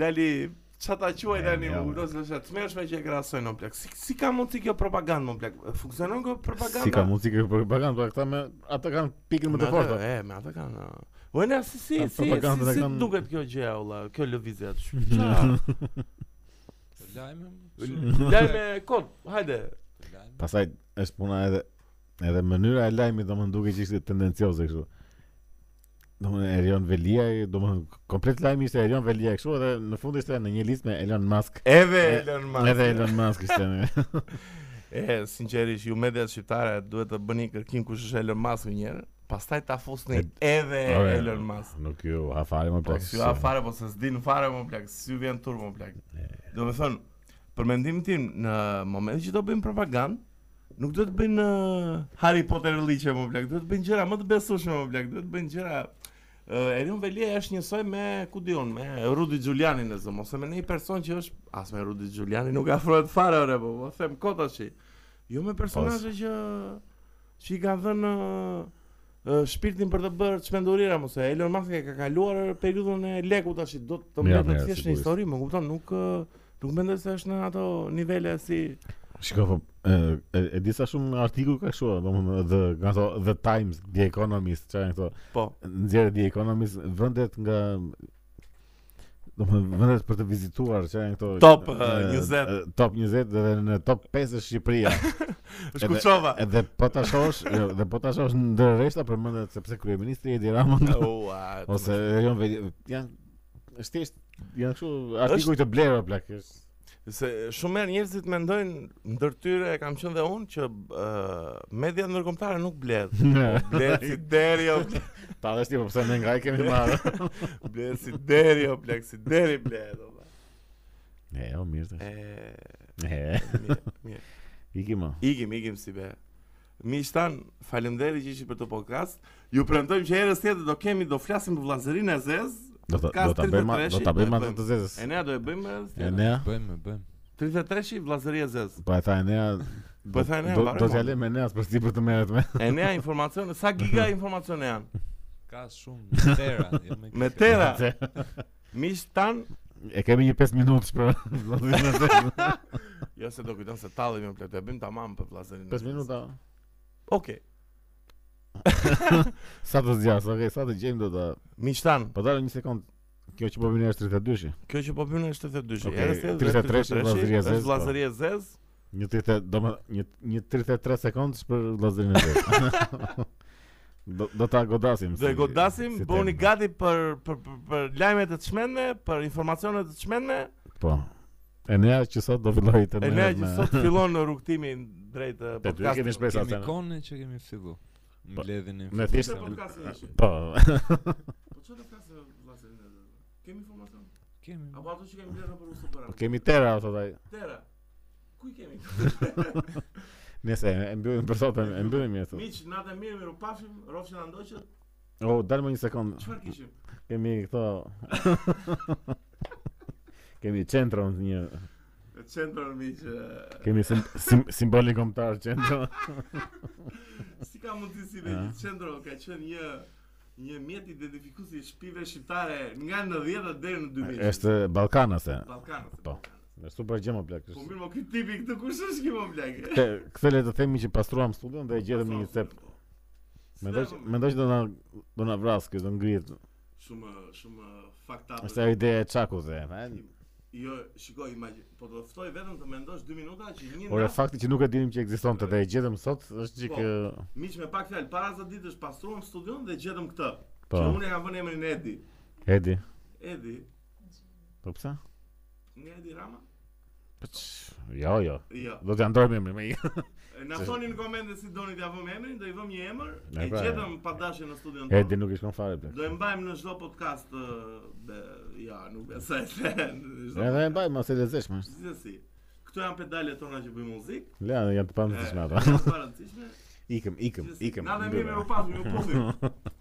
S2: Lali çata quaj tani,
S1: Ja,
S2: më
S1: ja,
S2: kupton se është e tmerrshme që e krahasojnë në plak. Si, si ka mundsi kjo propagandë më plak? Funksionon kjo propaganda?
S1: si ka muzikë për propagandë, por këta me ata kanë pikën më të
S2: Me
S1: fortë.
S2: atë, E, me atë kanë. a. Po ne si si
S1: Kanë
S2: si, si,
S1: propagandën e
S2: si
S1: kanë-
S2: duket kjo gjë olla, kjo lëvizje aty. Qa?
S3: Lajme?
S1: <laughs>
S2: Lajme kod, hajde.
S3: Lajme?
S1: Pastaj është puna edhe edhe mënyra e lajmit domethënë duke që ishte tendencioze kështu. Domethënë Erion Velia, domethënë komplet lajmi ishte Erion Velia kështu edhe në fund ishte në një listë me Elon Musk.
S2: Edhe
S1: E-
S2: Elon Musk.
S1: Edhe Elon Musk ishte. në-
S2: <laughs>
S1: <laughs>
S2: E, sinqerisht, ju mediat shqiptare duhet të bëni kërkim kush është Elon Musk një herë, pastaj ta fusni edhe
S1: Ore,
S2: Elon Musk.
S1: Nuk ju ha fare më
S2: Po
S1: pak.
S2: si ju a fare, po se s'din fare më plak, si ju vjen tur më plak. Do me thënë, për mendimin tim, në moment që do bëjmë propagandë, nuk do të bëjnë ë, Harry Potter liqe më plak, do të bëjnë gjëra më të besueshme më plak, do të bëjnë gjëra... Uh, Erion Velia është njësoj me, ku dion, me Rudi Giulianin e zëmë, ose me një person që është, as me Rudi Giuliani nuk afrohet fare, ore, po, po them kota që, jo me personazhe që, që i kanë dhënë ë, ë, shpirtin për të bërë çmendurira mos e Elon Musk e ka kaluar periudhën e lekut tash do të
S1: Mira,
S2: mbetet
S1: mira,
S2: thjesht në
S1: sigurisht.
S2: histori, më kupton, nuk ë, nuk mendoj se është në ato nivele si
S1: Shiko, po, e, e, e di sa shumë artikuj ka kështu, domethënë dhe nga ato The Times, The Economist, çfarë janë këto
S2: po.
S1: nxjerrë The Economist vendet nga domethënë vendet për të vizituar që janë këto
S2: Top,
S1: e,
S2: eh, 20.
S1: e, top 20 dhe në top 5 është Shqipëria.
S2: Është kuçova.
S1: Edhe po ta shohësh, jo, dhe po ta shohësh ndër rreshta përmendet sepse kryeministri Edi Rama
S2: <laughs>
S1: nga,
S2: Ua.
S1: ose Erion Veli janë është thjesht janë kështu artikuj të blerë po plak. është-
S2: se shumë herë njerëzit mendojnë ndër tyre kam qenë dhe unë që ë media ndërkombëtare nuk blehet. Po blehet si deri o blehet,
S1: Ta dhe shtipo po pse ne nga i kemi marrë.
S2: blehet si deri o blehet, si deri blehet. o, vlla.
S1: E, o mirë. tash.
S2: E
S1: E,
S2: mirë, mirë.
S1: iki më.
S2: Ikim, ikim si be. Miqtan, faleminderit që ishit për të podcast. Ju premtojmë që herës tjetër do kemi do flasim për vllazërinë e zezë.
S1: Do ta do ta bëjmë a- do ta bëjmë atë të zezës.
S2: E nea do e bëjmë herës
S1: E
S2: tjetër.
S1: nea.
S3: Bëjmë, bëjmë.
S2: 33-shi vllazëria e zezë.
S1: Po e tha Enea
S2: Po e tha Enea,
S1: do-
S2: varet,
S1: Do
S2: mo.
S1: t'ja le me Eneas për ti për të merret me
S2: E nea informacione, sa giga informacione janë?
S3: Ka shumë, <laughs> me tera. jo me
S2: Me
S3: giga.
S2: tera. Miqtan,
S1: E kemi një 5 minutësh për
S2: <laughs> jo se do kujton se tallemi më plot, e bëjmë tamam për vllazërinë.
S1: 5 minuta
S2: Okej.
S1: Sa të zgjas, okay, sa të gjejmë do ta
S2: Miqtan,
S1: Po dalë një sekond Kjo që po vjen është 32-shi
S2: kjo që po bëjmë është 32-shi.
S1: Okej,
S2: Herës tjetër
S1: 33-shi vllazëria e zezë,
S2: 33-shi është
S1: po.
S2: vllazëria e zezë.
S1: Një 30 do më një, një 33 sekondësh për vllazërinë e vet.
S2: <laughs>
S1: do, do ta godasim.
S2: Dhe godasim, bëni
S1: temë.
S2: gati për për për, për lajme të çmendme, për informacione të çmendme.
S1: Po. Enea që sot do filloj të
S2: E ne
S1: merret
S2: që
S1: me- <laughs>
S2: sot fillon në rrugtimi drejt eh,
S1: Te dy kemi
S2: podcastit.
S1: shpresë
S3: Kemi
S1: atë.
S3: kone që kemi fillu.
S1: Po,
S3: Mbledhin
S1: me thjesht-
S3: informacion.
S2: podcasti ishi.
S1: Po.
S2: Po çfarë podcast vllazërin? Kemi informacion?
S3: Kemi.
S2: Apo ato që kemi blerë për usë për.
S1: Po, <laughs> Kemi tera ato taj.
S2: Tera. Ku i kemi?
S1: Nëse e mbyllim për sot, e mbyllim jetë.
S2: Miq, natë mirë, miru pafshim, rrofshin na ndoqët.
S1: O, dalë më një sekond.
S2: Çfarë kishim?
S1: Kemi këto <laughs> Kemi qendron një
S2: E Qendrën miq. eh,
S1: Kemi sim, sim, simbolin kombëtar qendron
S2: Si ka mundësi si me një qendro ka qenë një një mjet identifikues i shpive shqiptare nga 90-at deri në 2000.
S1: Është Ballkanase
S2: Ballkanës.
S1: Po. Është super gjë më plak
S2: Po
S1: është-
S2: mirë, mo ky tipi këtu kush është ky mo blaq?
S1: Te, Këtë le të themi që pastruam studion dhe e gjetëm në një cep Mendoj që, mendoj që do na do na vras kjo do ngrihet.
S2: shumë shumë fakta.
S1: Është ajo ideja e Çakut dhe. e,
S2: Jo, shikoj, imagji- po do të ftoj vetëm të mendosh 2 minuta që një
S1: Ore
S2: nga
S1: fakti që nuk e dinim që ekzistonte dhe e gjetëm sot është çik
S2: Po.
S1: ë,
S2: miq me pak fjalë para sa ditësh pastruam studion dhe gjetëm këtë.
S1: po.
S2: Që unë e kam vënë emrin Edi.
S1: Edi.
S2: Edi,
S1: Po pse?
S2: nga Edi Rama?
S1: Po ç- jo, jo.
S2: Jo.
S1: Do të ndrojmë emrin me i. <laughs>
S2: E, Na
S1: Se-
S2: thoni në komente si doni t'ja vëmë emrin, do i vëmë një emër,
S1: E,
S2: e
S1: pra,
S2: gjetëm pa dashje në studion. tonë.
S1: Edi nuk i shkon fare bler.
S2: Do e mbajmë në çdo podcast ë, be, ja, nuk besoj se. në çdo-
S1: Edhe e mbaj mos e lezesh më.
S2: Gjithsesi, këto janë pedalet tona që bëjmë muzikë.
S1: Le, janë të
S2: e,
S1: pamë të
S2: janë
S1: ata.
S2: të parëndësishme.
S1: Ikëm, ikëm,
S2: Gjithsesi,
S1: ikëm.
S2: Na dhe
S1: mbyllëm.
S2: mirë me u pasim, ju pofim.